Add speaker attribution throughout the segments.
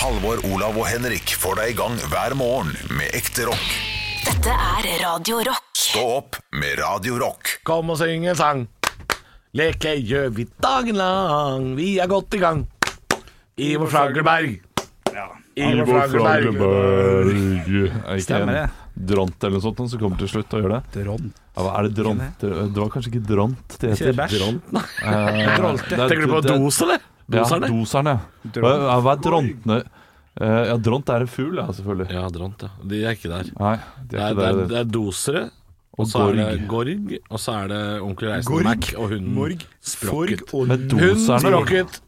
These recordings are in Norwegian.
Speaker 1: Halvor, Olav og Henrik får deg i gang hver morgen med ekte rock.
Speaker 2: Dette er Radio Rock.
Speaker 1: Stå opp med Radio Rock.
Speaker 3: Kom og syng en sang. Leke gjør vi dagen lang. Vi er godt i gang. Ivor Flagerberg. Ivor Flagerberg.
Speaker 4: Stemmer det. Dront eller noe sånt som kommer til slutt og gjør det.
Speaker 5: Dront.
Speaker 4: Ja, hva er det dront? Det var kanskje ikke dront det
Speaker 5: Ikke
Speaker 4: heter.
Speaker 5: det bæsj?
Speaker 4: Eh,
Speaker 5: Drolte.
Speaker 4: det er-
Speaker 3: Tenker du på
Speaker 4: det-
Speaker 3: dos, eller?
Speaker 4: Ja,
Speaker 3: Doserne?
Speaker 4: doseren, ja. Hva,
Speaker 5: Dront.
Speaker 4: ja, hva er drontene? Eh, ja, dront er en fugl, ja, selvfølgelig.
Speaker 3: Ja, dront, ja. De er ikke der.
Speaker 4: Nei, de
Speaker 3: Det
Speaker 4: er
Speaker 3: er,
Speaker 4: ikke
Speaker 3: det er,
Speaker 4: der.
Speaker 3: det er dosere, og
Speaker 4: Og
Speaker 3: så er det
Speaker 4: gorg.
Speaker 3: gorg, og så er det onkel Reisen
Speaker 5: Gorg,
Speaker 3: Mac og hunden
Speaker 5: Morg,
Speaker 3: Sprokket.
Speaker 5: forg og
Speaker 4: Men
Speaker 3: Hun
Speaker 4: doserne
Speaker 3: Sprokket.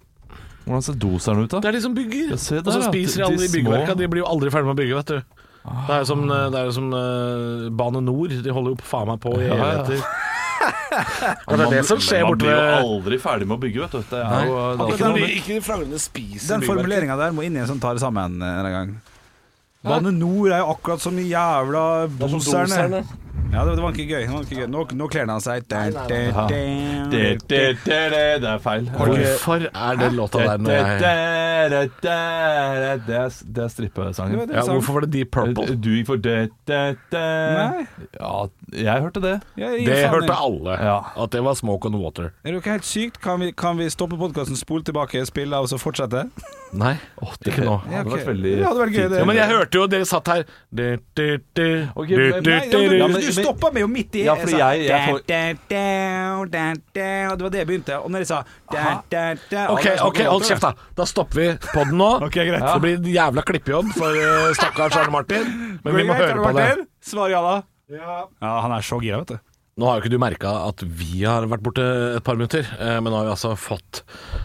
Speaker 4: Hvordan ser doseren ut, da?
Speaker 3: Det er de som bygger.
Speaker 4: Ja, se der,
Speaker 3: og så
Speaker 4: ja.
Speaker 3: spiser de
Speaker 4: De-
Speaker 3: alle de,
Speaker 4: de
Speaker 3: byggverka.
Speaker 4: små.
Speaker 3: De blir jo aldri ferdig med å bygge, vet du. Det er jo som, eh, det er jo som eh, Bane Nor. De holder jo på faen meg på i
Speaker 4: Ja, ja.
Speaker 3: evigheter. Og det er det som skjer
Speaker 4: Man
Speaker 3: borte
Speaker 4: blir jo
Speaker 3: ved
Speaker 4: aldri ferdig med å bygge, vet du. Det er jo det er
Speaker 3: Akkurat
Speaker 4: ikke
Speaker 3: når
Speaker 4: noe
Speaker 3: de- Ikke de flagrende spiser
Speaker 5: Den
Speaker 3: byggverket.
Speaker 5: formuleringa der må inn i en som tar det sammen eh, en gang. Bane Nor er jo akkurat som de jævla boserne. Ja, det, det var ikke gøy. Det var ikke gøy. Nå, nå kler han seg. Dun, dun, dun.
Speaker 4: det, det, det, det, det er feil.
Speaker 3: Hvorfor er den låta der
Speaker 4: Det, det,
Speaker 3: når jeg
Speaker 4: det, det, det, det er, det er strippesangen. Eh,
Speaker 5: Det var det
Speaker 3: ja,
Speaker 5: jeg sa.
Speaker 3: Hvorfor var det Deep Purple?
Speaker 4: Du gikk for liksom- det, det, det.
Speaker 5: Nei.
Speaker 4: Ja, jeg hørte det.
Speaker 5: Jeg gir
Speaker 3: Det
Speaker 5: faen i.
Speaker 3: hørte alle.
Speaker 4: Ja.
Speaker 3: At det var Smoke on Water.
Speaker 5: Er dere helt sykt? Kan vi, kan vi stoppe podkasten, spole tilbake, spille av og så fortsette?
Speaker 3: Nei,
Speaker 4: det
Speaker 3: ikke nå.
Speaker 4: Det hadde
Speaker 5: ok.
Speaker 4: vært veldig
Speaker 5: Det hadde vært gøy, det.
Speaker 3: Ja, men jeg hørte jo dere satt her du, du, du,
Speaker 4: Ok,
Speaker 3: du,
Speaker 4: men-
Speaker 3: du,
Speaker 5: Nei, ja,
Speaker 3: du,
Speaker 4: Ja, men-
Speaker 5: men, du
Speaker 4: men-
Speaker 5: stoppa meg jo midt i.
Speaker 4: Ja, fordi
Speaker 5: sa,
Speaker 4: jeg- jeg får-
Speaker 5: da, da, da, da, da, Det var det jeg begynte. Og når jeg sa da, da, da,
Speaker 3: Ok,
Speaker 5: alle som
Speaker 3: ok, hold kjeft, da. Da stopper vi podden nå.
Speaker 5: Ok, greit.
Speaker 3: Det blir en jævla klippejobb for eh, stakkars Arne Martin, men vi må
Speaker 5: Greit,
Speaker 3: høre
Speaker 5: har
Speaker 3: på
Speaker 5: du
Speaker 3: det.
Speaker 5: vært der? Svar ja, da. Ja, han er så gira, vet du.
Speaker 3: Nå har jo ikke du merka at vi har vært borte et par minutter, eh, men nå har vi altså fått,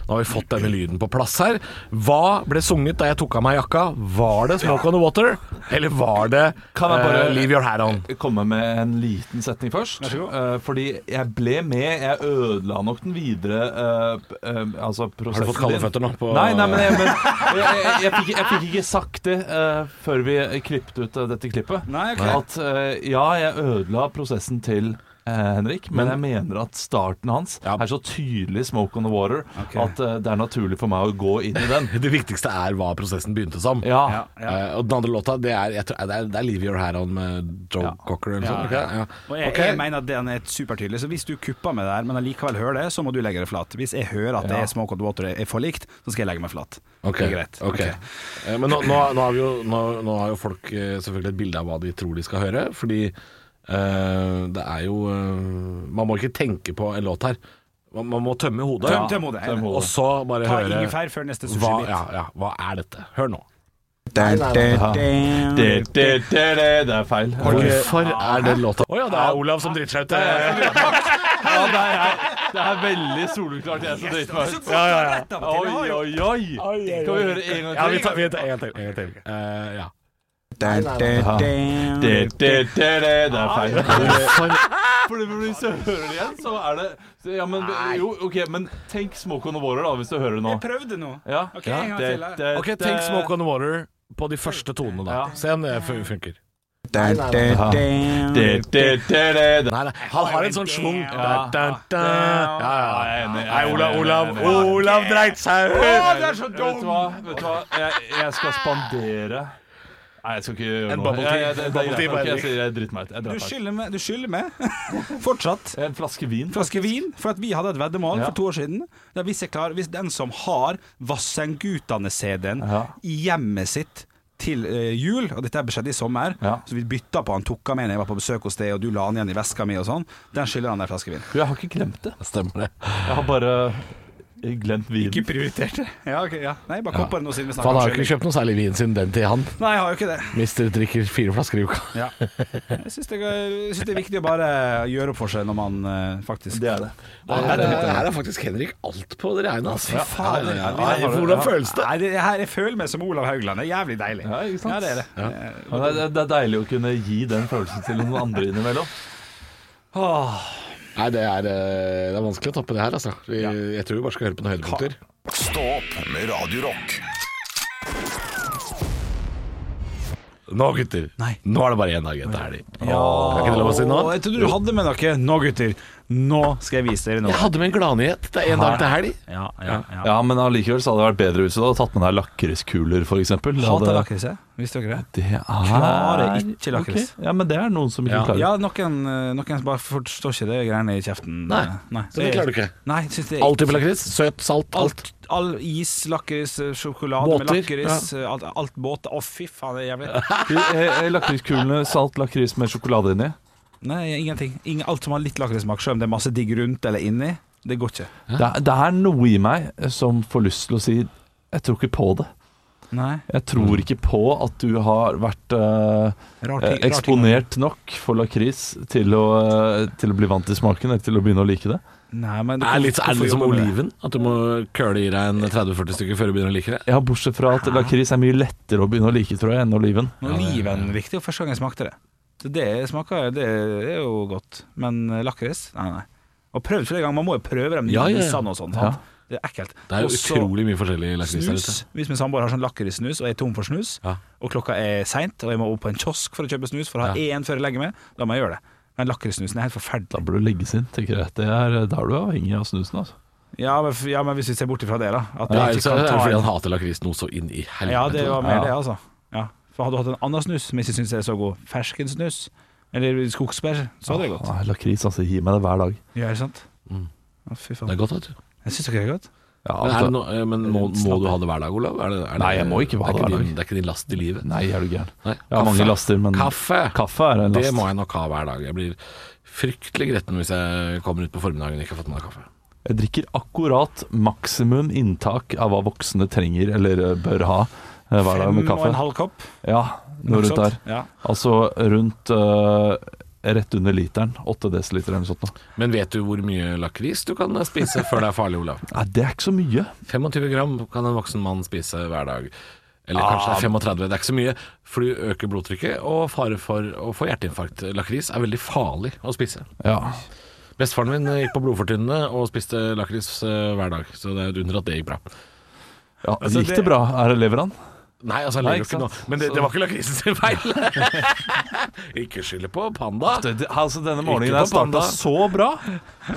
Speaker 3: nå har vi fått denne lyden på plass her. Hva ble sunget da jeg tok av meg jakka? Var det 'Smoke on the Water'? Eller var det
Speaker 4: Kan jeg bare-
Speaker 3: eh, 'Leave Your Hair On'?
Speaker 4: komme med en liten setning først.
Speaker 5: Vær så god.
Speaker 4: Eh, fordi jeg ble med. Jeg ødela nok den videre eh, p- eh, altså prosessen.
Speaker 3: fått kalde
Speaker 4: din.
Speaker 3: føtter nå på-
Speaker 4: Nei, nei, men jeg, men, jeg, jeg, jeg, fikk, jeg fikk ikke sagt det eh, før vi klippet ut eh, dette klippet.
Speaker 5: Nei, ok.
Speaker 4: At eh, ja, jeg ødela prosessen til eh, Henrik, men jeg mener at starten hans
Speaker 3: Ja.
Speaker 4: er så tydelig 'smoke on the water' at eh, det er naturlig for meg å gå inn i den.
Speaker 3: Det viktigste er hva prosessen begynte som.
Speaker 4: Ja,
Speaker 5: Ja, ja.
Speaker 3: Eh, og den andre låta, det er, jeg tror, det er, det er 'Leave Your Hair On' med Joe Cocker eller noe sånt.
Speaker 5: Ja,
Speaker 3: ikke? Ja.
Speaker 5: Og jeg,
Speaker 3: Ok.
Speaker 5: jeg mener at den er supertydelig, så hvis du kupper meg der, men allikevel hører det, så må du legge deg flat. Hvis jeg hører at det er smoke and water jeg får likt, så skal jeg legge meg flat.
Speaker 3: Ok,
Speaker 5: Det er greit.
Speaker 3: ok. Eh, Men nå, nå, nå, har vi jo, nå, nå har jo folk eh, selvfølgelig et bilde av hva de tror de skal høre, fordi eh, det er jo eh, Man må ikke tenke på en låt her. Man, man må tømme hodet,
Speaker 5: Tøm, tøm hodet.
Speaker 4: tøm hodet.
Speaker 3: og så bare
Speaker 5: Ta
Speaker 3: høre
Speaker 5: ingefær før neste
Speaker 3: hva,
Speaker 5: sushibit.
Speaker 3: ja, ja, hva er dette? Hør nå.
Speaker 4: Det, det, det, det, det er feil.
Speaker 3: Hvorfor er den låta Å ja, det er Olav som driter seg ut.
Speaker 4: Ja, det er, det er veldig soleklart jeg som driter meg ut.
Speaker 5: Ja, ja, ja.
Speaker 4: Oi, oi, oi! Skal vi høre en gang
Speaker 3: Ja,
Speaker 4: til?
Speaker 3: vi tar, vi tar en gang til. En gang til. Eh, ja.
Speaker 4: Det, det, det, det, det er feil. Hvorfor? Fordi Hvis du hører det igjen, så er det så, Ja, men jo, OK, men tenk Smoke on the Water, da, hvis du hører det nå.
Speaker 5: Jeg prøvde nå.
Speaker 4: Ja.
Speaker 5: Ok, en gang til, da.
Speaker 3: Ok, tenk 'Smoke on the Water' på de første tonene, da.
Speaker 4: Ja.
Speaker 3: Se om det fun- funker.
Speaker 4: Det, det, det, det, det.
Speaker 3: Nei, nei, han har en sånn schwung.
Speaker 4: Ja.
Speaker 3: Da, da, da. Ja, ja.
Speaker 4: Ja, jeg er enig, jeg er
Speaker 3: Nei,
Speaker 4: enig,
Speaker 3: Olav,
Speaker 4: jeg er
Speaker 3: Olav,
Speaker 4: enig, jeg er enig.
Speaker 3: Olav dreit seg ut!
Speaker 4: er så dumt! Vet du hva? Vet du hva? Jeg, jeg skal spandere Nei, jeg skal ikke gjøre noe.
Speaker 3: En bubble tea.
Speaker 4: Ja, ja, det- det er
Speaker 3: Bubble tea
Speaker 4: greit.
Speaker 3: bare.
Speaker 4: Ok, jeg sier jeg driter meg ut. Jeg
Speaker 5: Du
Speaker 4: driter meg ut.
Speaker 5: skylder meg. Du skylder meg. Fortsatt.
Speaker 4: En flaske vin.
Speaker 5: flaske vin, for at vi hadde et veddemål
Speaker 4: Ja.
Speaker 5: for to år siden. Der hvis, jeg klarer, hvis den som har Vassendgutane-CD-en
Speaker 4: Ja.
Speaker 5: i hjemmet sitt til eh, jul, og dette her skjedde i sommer,
Speaker 4: Ja.
Speaker 5: så vi bytta på han tok av meg når jeg var på besøk hos deg, og du la han igjen i veska mi og sånn, den skylder han deg en flaske vin.
Speaker 4: Du, Jeg har ikke glemt det.
Speaker 3: Stemmer det.
Speaker 4: Jeg har bare eh, glemt vinen.
Speaker 5: Ikke prioritert det. Ja, ok, ja. Nei, bare kom på det nå siden vi
Speaker 3: For han
Speaker 5: snakker
Speaker 3: har jo ikke
Speaker 5: skylding.
Speaker 3: kjøpt noe særlig vin siden den tid, han.
Speaker 5: Nei, jeg har jo ikke det.
Speaker 3: Mister drikker fire flasker i uka.
Speaker 5: Ja. Jeg syns det, jeg synes det er viktig å bare gjøre opp for seg når man eh, faktisk
Speaker 4: Det er det.
Speaker 3: Her er, her er faktisk Henrik alt på det reine, altså. Fy faen.
Speaker 5: ja,
Speaker 3: Nei,
Speaker 5: ja, ja.
Speaker 3: Hvordan føles det?
Speaker 5: Nei, det her, jeg føler meg som Olav Haugland. Det er jævlig deilig.
Speaker 4: Ja, ikke sant?
Speaker 5: Ja, det er det.
Speaker 4: Men det, det er deilig å kunne gi den følelsen til noen andre innimellom.
Speaker 3: Nei, det er, eh, det er vanskelig å toppe det her, altså. Vi, jeg tror vi bare skal høre på noen høydepunkter.
Speaker 1: Stå opp med Radio Rock.
Speaker 3: Nå, gutter.
Speaker 5: Nei.
Speaker 3: Nå er det bare én dag igjen til helg. Er ikke det lov å si nå?
Speaker 5: Åh, Jeg trodde du hadde med noe. Nå, gutter. Nå skal jeg vise dere
Speaker 3: Jeg
Speaker 5: noe.
Speaker 3: hadde med en gladnyhet. Det er en dag til helg.
Speaker 5: Ja, ja, ja.
Speaker 4: Ja, men allikevel så hadde det vært bedre hvis du hadde tatt med deg lakriskuler, f.eks.
Speaker 5: Hater lakris, jeg. Visste dere det?
Speaker 4: Det er
Speaker 5: Klarer ikke lakris.
Speaker 4: Ok, Ja, men det er noen som ikke
Speaker 3: Ja.
Speaker 4: klarer
Speaker 5: Ja, noen, eh, noen som bare forstår ikke det greiene i kjeften. Eh,
Speaker 3: Nei,
Speaker 5: Nei.
Speaker 3: Så det klarer du ikke.
Speaker 5: Nei, jeg synes det er
Speaker 3: All type lakris. Søt, salt, alt.
Speaker 5: Alt, all is, lakris, eh, sjokolade med
Speaker 3: Båter,
Speaker 5: lakris, eh, alt, alt båt. Å, fy faen, det er jævlig.
Speaker 4: Er- er Eh, Lakriskulene, salt lakris med sjokolade inni.
Speaker 5: Nei, ingenting. Ingen, alt som har litt lakrissmak, selv om det er masse digg rundt eller inni, det går ikke.
Speaker 4: Det, er- det er noe i meg som får lyst til å si jeg tror ikke på det.
Speaker 5: Nei.
Speaker 4: Jeg
Speaker 3: Mm.
Speaker 4: tror ikke på at du har vært eh, eh,
Speaker 5: Rar ting. rar ting.
Speaker 4: eksponert nok for lakris til, å, eh, til å bli vant til smaken eller til å begynne å like det.
Speaker 5: Nei, men
Speaker 3: Er, litt, er det litt som
Speaker 5: Hvorfor jobber med
Speaker 3: oliven? At du må køle i deg en 30-40 stykker før du begynner å like det?
Speaker 4: Ja, Bortsett fra at lakris er mye lettere å begynne å like, tror jeg, enn oliven.
Speaker 5: Men Oliven likte jo første gang jeg smakte det. Så det smaker Det er jo godt. Men eh, lakris? Nei, nei. Og prøvd flere ganger. Man må jo prøve dem
Speaker 3: Ja, ja, ja.
Speaker 5: nissene og sånn.
Speaker 4: Ja.
Speaker 5: sant? Det er ekkelt.
Speaker 3: Det er jo
Speaker 5: Og så
Speaker 3: utrolig mye forskjellig lakris der ute.
Speaker 5: Snus. Hvis min samboer har sånn lakrissnus og er tom for snus,
Speaker 3: Ja.
Speaker 5: og klokka er seint, og jeg må opp på en kiosk for å kjøpe snus for å ha én før jeg legger meg, da må jeg gjøre det. Men lakrissnusen er helt
Speaker 4: Da
Speaker 3: Mm.
Speaker 5: forferdelig.
Speaker 4: bør du legges inn, tenker jeg. Det er, da er du avhengig av snusen, altså.
Speaker 5: Ja, men, f- ja, men hvis vi ser bort ifra det, da. At
Speaker 3: Ja,
Speaker 5: jeg
Speaker 3: ellers
Speaker 5: ikke
Speaker 3: er
Speaker 5: kan
Speaker 3: det
Speaker 5: ta
Speaker 3: fordi
Speaker 5: en-
Speaker 3: han hater lakris noe så inn i helvete.
Speaker 5: Ja, det var mer
Speaker 4: Ja.
Speaker 5: det, altså. Ja. For hadde du hatt en annen snus som jeg ikke syns er så god, ferskensnus, eller skogsbær, så hadde det gått.
Speaker 4: Ah, lakris, altså. Gi meg det hver dag.
Speaker 5: Ja, er det sant?
Speaker 4: Mm.
Speaker 5: Å, fy
Speaker 3: Det
Speaker 5: faen.
Speaker 3: er godt, vet du.
Speaker 5: Jeg syns ikke det er godt.
Speaker 4: Ja,
Speaker 3: Men, er det
Speaker 4: altså.
Speaker 3: noe- eh, men må, må du ha det hver dag, Olav? Er det, er det,
Speaker 4: Nei, jeg må ikke ha
Speaker 3: er
Speaker 4: det hver
Speaker 3: din-
Speaker 4: dag.
Speaker 3: Det er ikke din last i livet.
Speaker 4: Nei, er du gæren.
Speaker 3: Nei.
Speaker 4: Jeg har mange laster, men
Speaker 3: Kaffe!
Speaker 4: kaffe er en
Speaker 3: Det
Speaker 4: last.
Speaker 3: må jeg nok ha hver dag. Jeg blir fryktelig gretten hvis jeg kommer ut på formiddagen og ikke har fått med meg kaffe.
Speaker 4: Jeg drikker akkurat maksimum inntak av hva voksne trenger eller eh, bør ha eh, hver dag med
Speaker 5: Fem og en
Speaker 4: kaffe.
Speaker 5: halv kopp.
Speaker 4: Ja,
Speaker 5: noe
Speaker 4: noe rundt der.
Speaker 5: sånt. Ja.
Speaker 4: Altså rundt eh, rett under literen. 8 desiliter eller noe sånt. nå.
Speaker 3: Men vet du hvor mye lakris du kan spise før det er farlig, Olav?
Speaker 4: Nei, det er ikke så mye.
Speaker 3: 25 gram kan en voksen mann spise hver dag. Eller kanskje det er 35. Det er ikke så mye, for du øker blodtrykket og fare for å få hjerteinfarkt. Lakris er veldig farlig å spise.
Speaker 4: Ja.
Speaker 3: Bestefaren min eh, gikk på blodfortynnende og spiste lakris eh, hver dag, så det er et under at det gikk bra.
Speaker 4: ja
Speaker 5: Altså,
Speaker 4: gikk
Speaker 5: det-
Speaker 4: det bra? Er det lever han?
Speaker 3: Nei, altså, jeg
Speaker 4: Nei,
Speaker 3: ler jo
Speaker 4: ikke
Speaker 3: ikke nå.
Speaker 4: sant?
Speaker 3: Men det, det var ikke lakrisen sin feil. ikke skylde på panda.
Speaker 4: altså, denne
Speaker 3: morgenen
Speaker 4: er
Speaker 3: der startet
Speaker 4: starta så bra.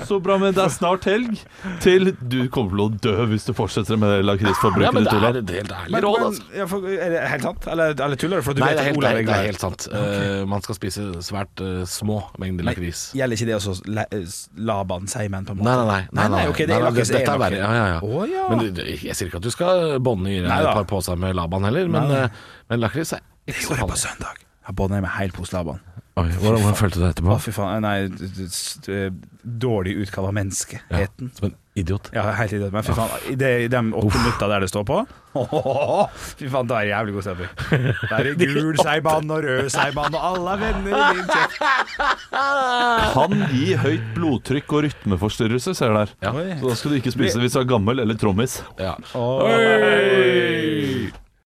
Speaker 4: Så bra, men det er snart helg. Til du kommer til å dø hvis du fortsetter med det
Speaker 3: Ja,
Speaker 4: lakrisforbruket
Speaker 3: men det
Speaker 4: ditt,
Speaker 3: er
Speaker 4: Olav.
Speaker 3: et helt ærlig
Speaker 5: Men,
Speaker 3: råd,
Speaker 5: men,
Speaker 3: altså.
Speaker 5: ja, for, er det helt sant? Eller, eller tuller du? For du
Speaker 3: Nei, det
Speaker 5: vet
Speaker 3: er
Speaker 5: at
Speaker 3: helt,
Speaker 5: Olav
Speaker 3: det er
Speaker 5: glad.
Speaker 3: helt sant. Eh, man skal spise svært eh, små mengder
Speaker 5: Men
Speaker 3: lakris.
Speaker 5: Gjelder ikke det også la- s- Laban Seimen, på en måte?
Speaker 3: Nei, nei, nei.
Speaker 5: Nei, nei, ok, det er lakris, det er
Speaker 3: Dette er
Speaker 5: lakris.
Speaker 3: verre. Ja, ja, ja.
Speaker 5: Å, ja.
Speaker 3: Men det- det- jeg sier ikke at du skal bånde i deg
Speaker 5: Nei,
Speaker 3: et
Speaker 5: da.
Speaker 3: par poser med Laban heller, men,
Speaker 5: Nei, nei.
Speaker 3: eh, men lakris er
Speaker 5: Det
Speaker 3: ikke så
Speaker 5: gjorde jeg på
Speaker 3: farlig.
Speaker 5: søndag. Jeg bånda i meg hel pose Laban.
Speaker 3: Oi, Hvordan hvordan følte du det
Speaker 5: Å,
Speaker 3: etterpå?
Speaker 5: fy faen. Nei, d- d- s- d- dårlig utgave av menneskeheten.
Speaker 3: Som en idiot.
Speaker 5: Ja, helt idiot. Men fy faen, i de, i de åtte minutta der det står på Fy faen, da er det jævlig god stemning. Der er det gul seiban og rød seiban, og alle er venner i min kjeft.
Speaker 4: Kan gi høyt blodtrykk og rytmeforstyrrelse, ser du der.
Speaker 3: Ja.
Speaker 5: Oi.
Speaker 4: Så da skal du ikke spise hvis du er gammel eller trommis.
Speaker 3: Ja.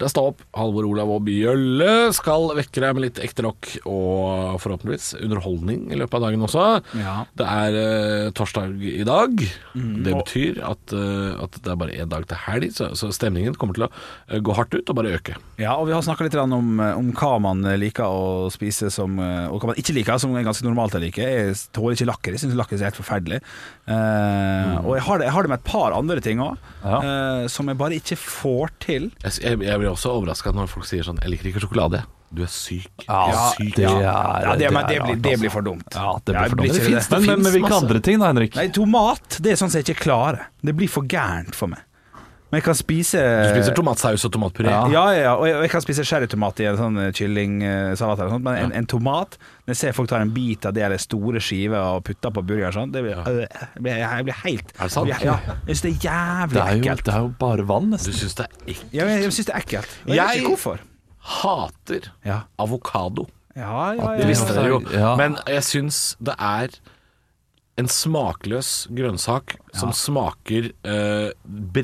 Speaker 3: Det er Stå opp. Halvor, Olav og Bjølle skal vekke deg med litt ekte rock og forhåpentligvis underholdning i løpet av dagen også.
Speaker 5: Ja. Mm.
Speaker 3: Det er eh, torsdag i dag. Det betyr at, eh, at det er bare én dag til helg, så, så stemningen kommer til å eh, gå hardt ut og bare øke.
Speaker 5: Ja, og vi har snakka litt grann om, eh, om hva man liker å spise som, eh, og hva man ikke liker, som er ganske normalt å like. Jeg tåler ikke lakker. Jeg syns lakker er helt forferdelig. Eh, Og jeg har, det, jeg har det med et par andre ting òg, som jeg bare ikke får til.
Speaker 3: Jeg, jeg, jeg blir også overraska når folk sier sånn 'Jeg liker ikke sjokolade'. Du er syk.
Speaker 4: Ja,
Speaker 3: syk.
Speaker 4: det
Speaker 5: Ja,
Speaker 4: er-
Speaker 5: ja, det, men det,
Speaker 4: er
Speaker 5: blir,
Speaker 4: rart,
Speaker 5: det
Speaker 4: altså.
Speaker 5: blir for dumt.
Speaker 4: Ja, det blir
Speaker 5: Jeg
Speaker 4: for
Speaker 5: blir
Speaker 4: dumt.
Speaker 5: ikke det.
Speaker 4: men, men, men hvilke
Speaker 3: masse.
Speaker 4: andre ting da, Henrik?
Speaker 5: Nei, tomat det er sånn som jeg ikke klarer. Det blir for gærent for meg. Men jeg kan spise
Speaker 3: Du spiser tomatsaus og tomatpuré.
Speaker 5: Ja, ja, ja. Og jeg, og jeg kan spise sherrytomat i en sånn eh, kyllingsalat eller sånt, men en, en tomat Når jeg ser folk tar en bit av det eller store skiver og putter på burger og sånn, det blir, øh, jeg blir- jeg blir helt
Speaker 3: Er det sant?
Speaker 5: Ja, ja. Jeg syns det er jævlig
Speaker 4: det, er jo,
Speaker 5: ekkelt.
Speaker 4: det er jo bare vann,
Speaker 3: Du
Speaker 4: nesten.
Speaker 3: syns det er ikke
Speaker 5: Ja, men jeg syns det er ekkelt. Og jeg,
Speaker 3: Jeg-
Speaker 5: vet ikke hvorfor.
Speaker 3: Hater
Speaker 5: Ja.
Speaker 3: avokado.
Speaker 5: Ja, ja,
Speaker 4: At
Speaker 5: ja,
Speaker 3: Det
Speaker 5: ja.
Speaker 3: visste dere jo.
Speaker 4: Ja.
Speaker 3: Men jeg syns det er en smakløs grønnsak som smaker eh,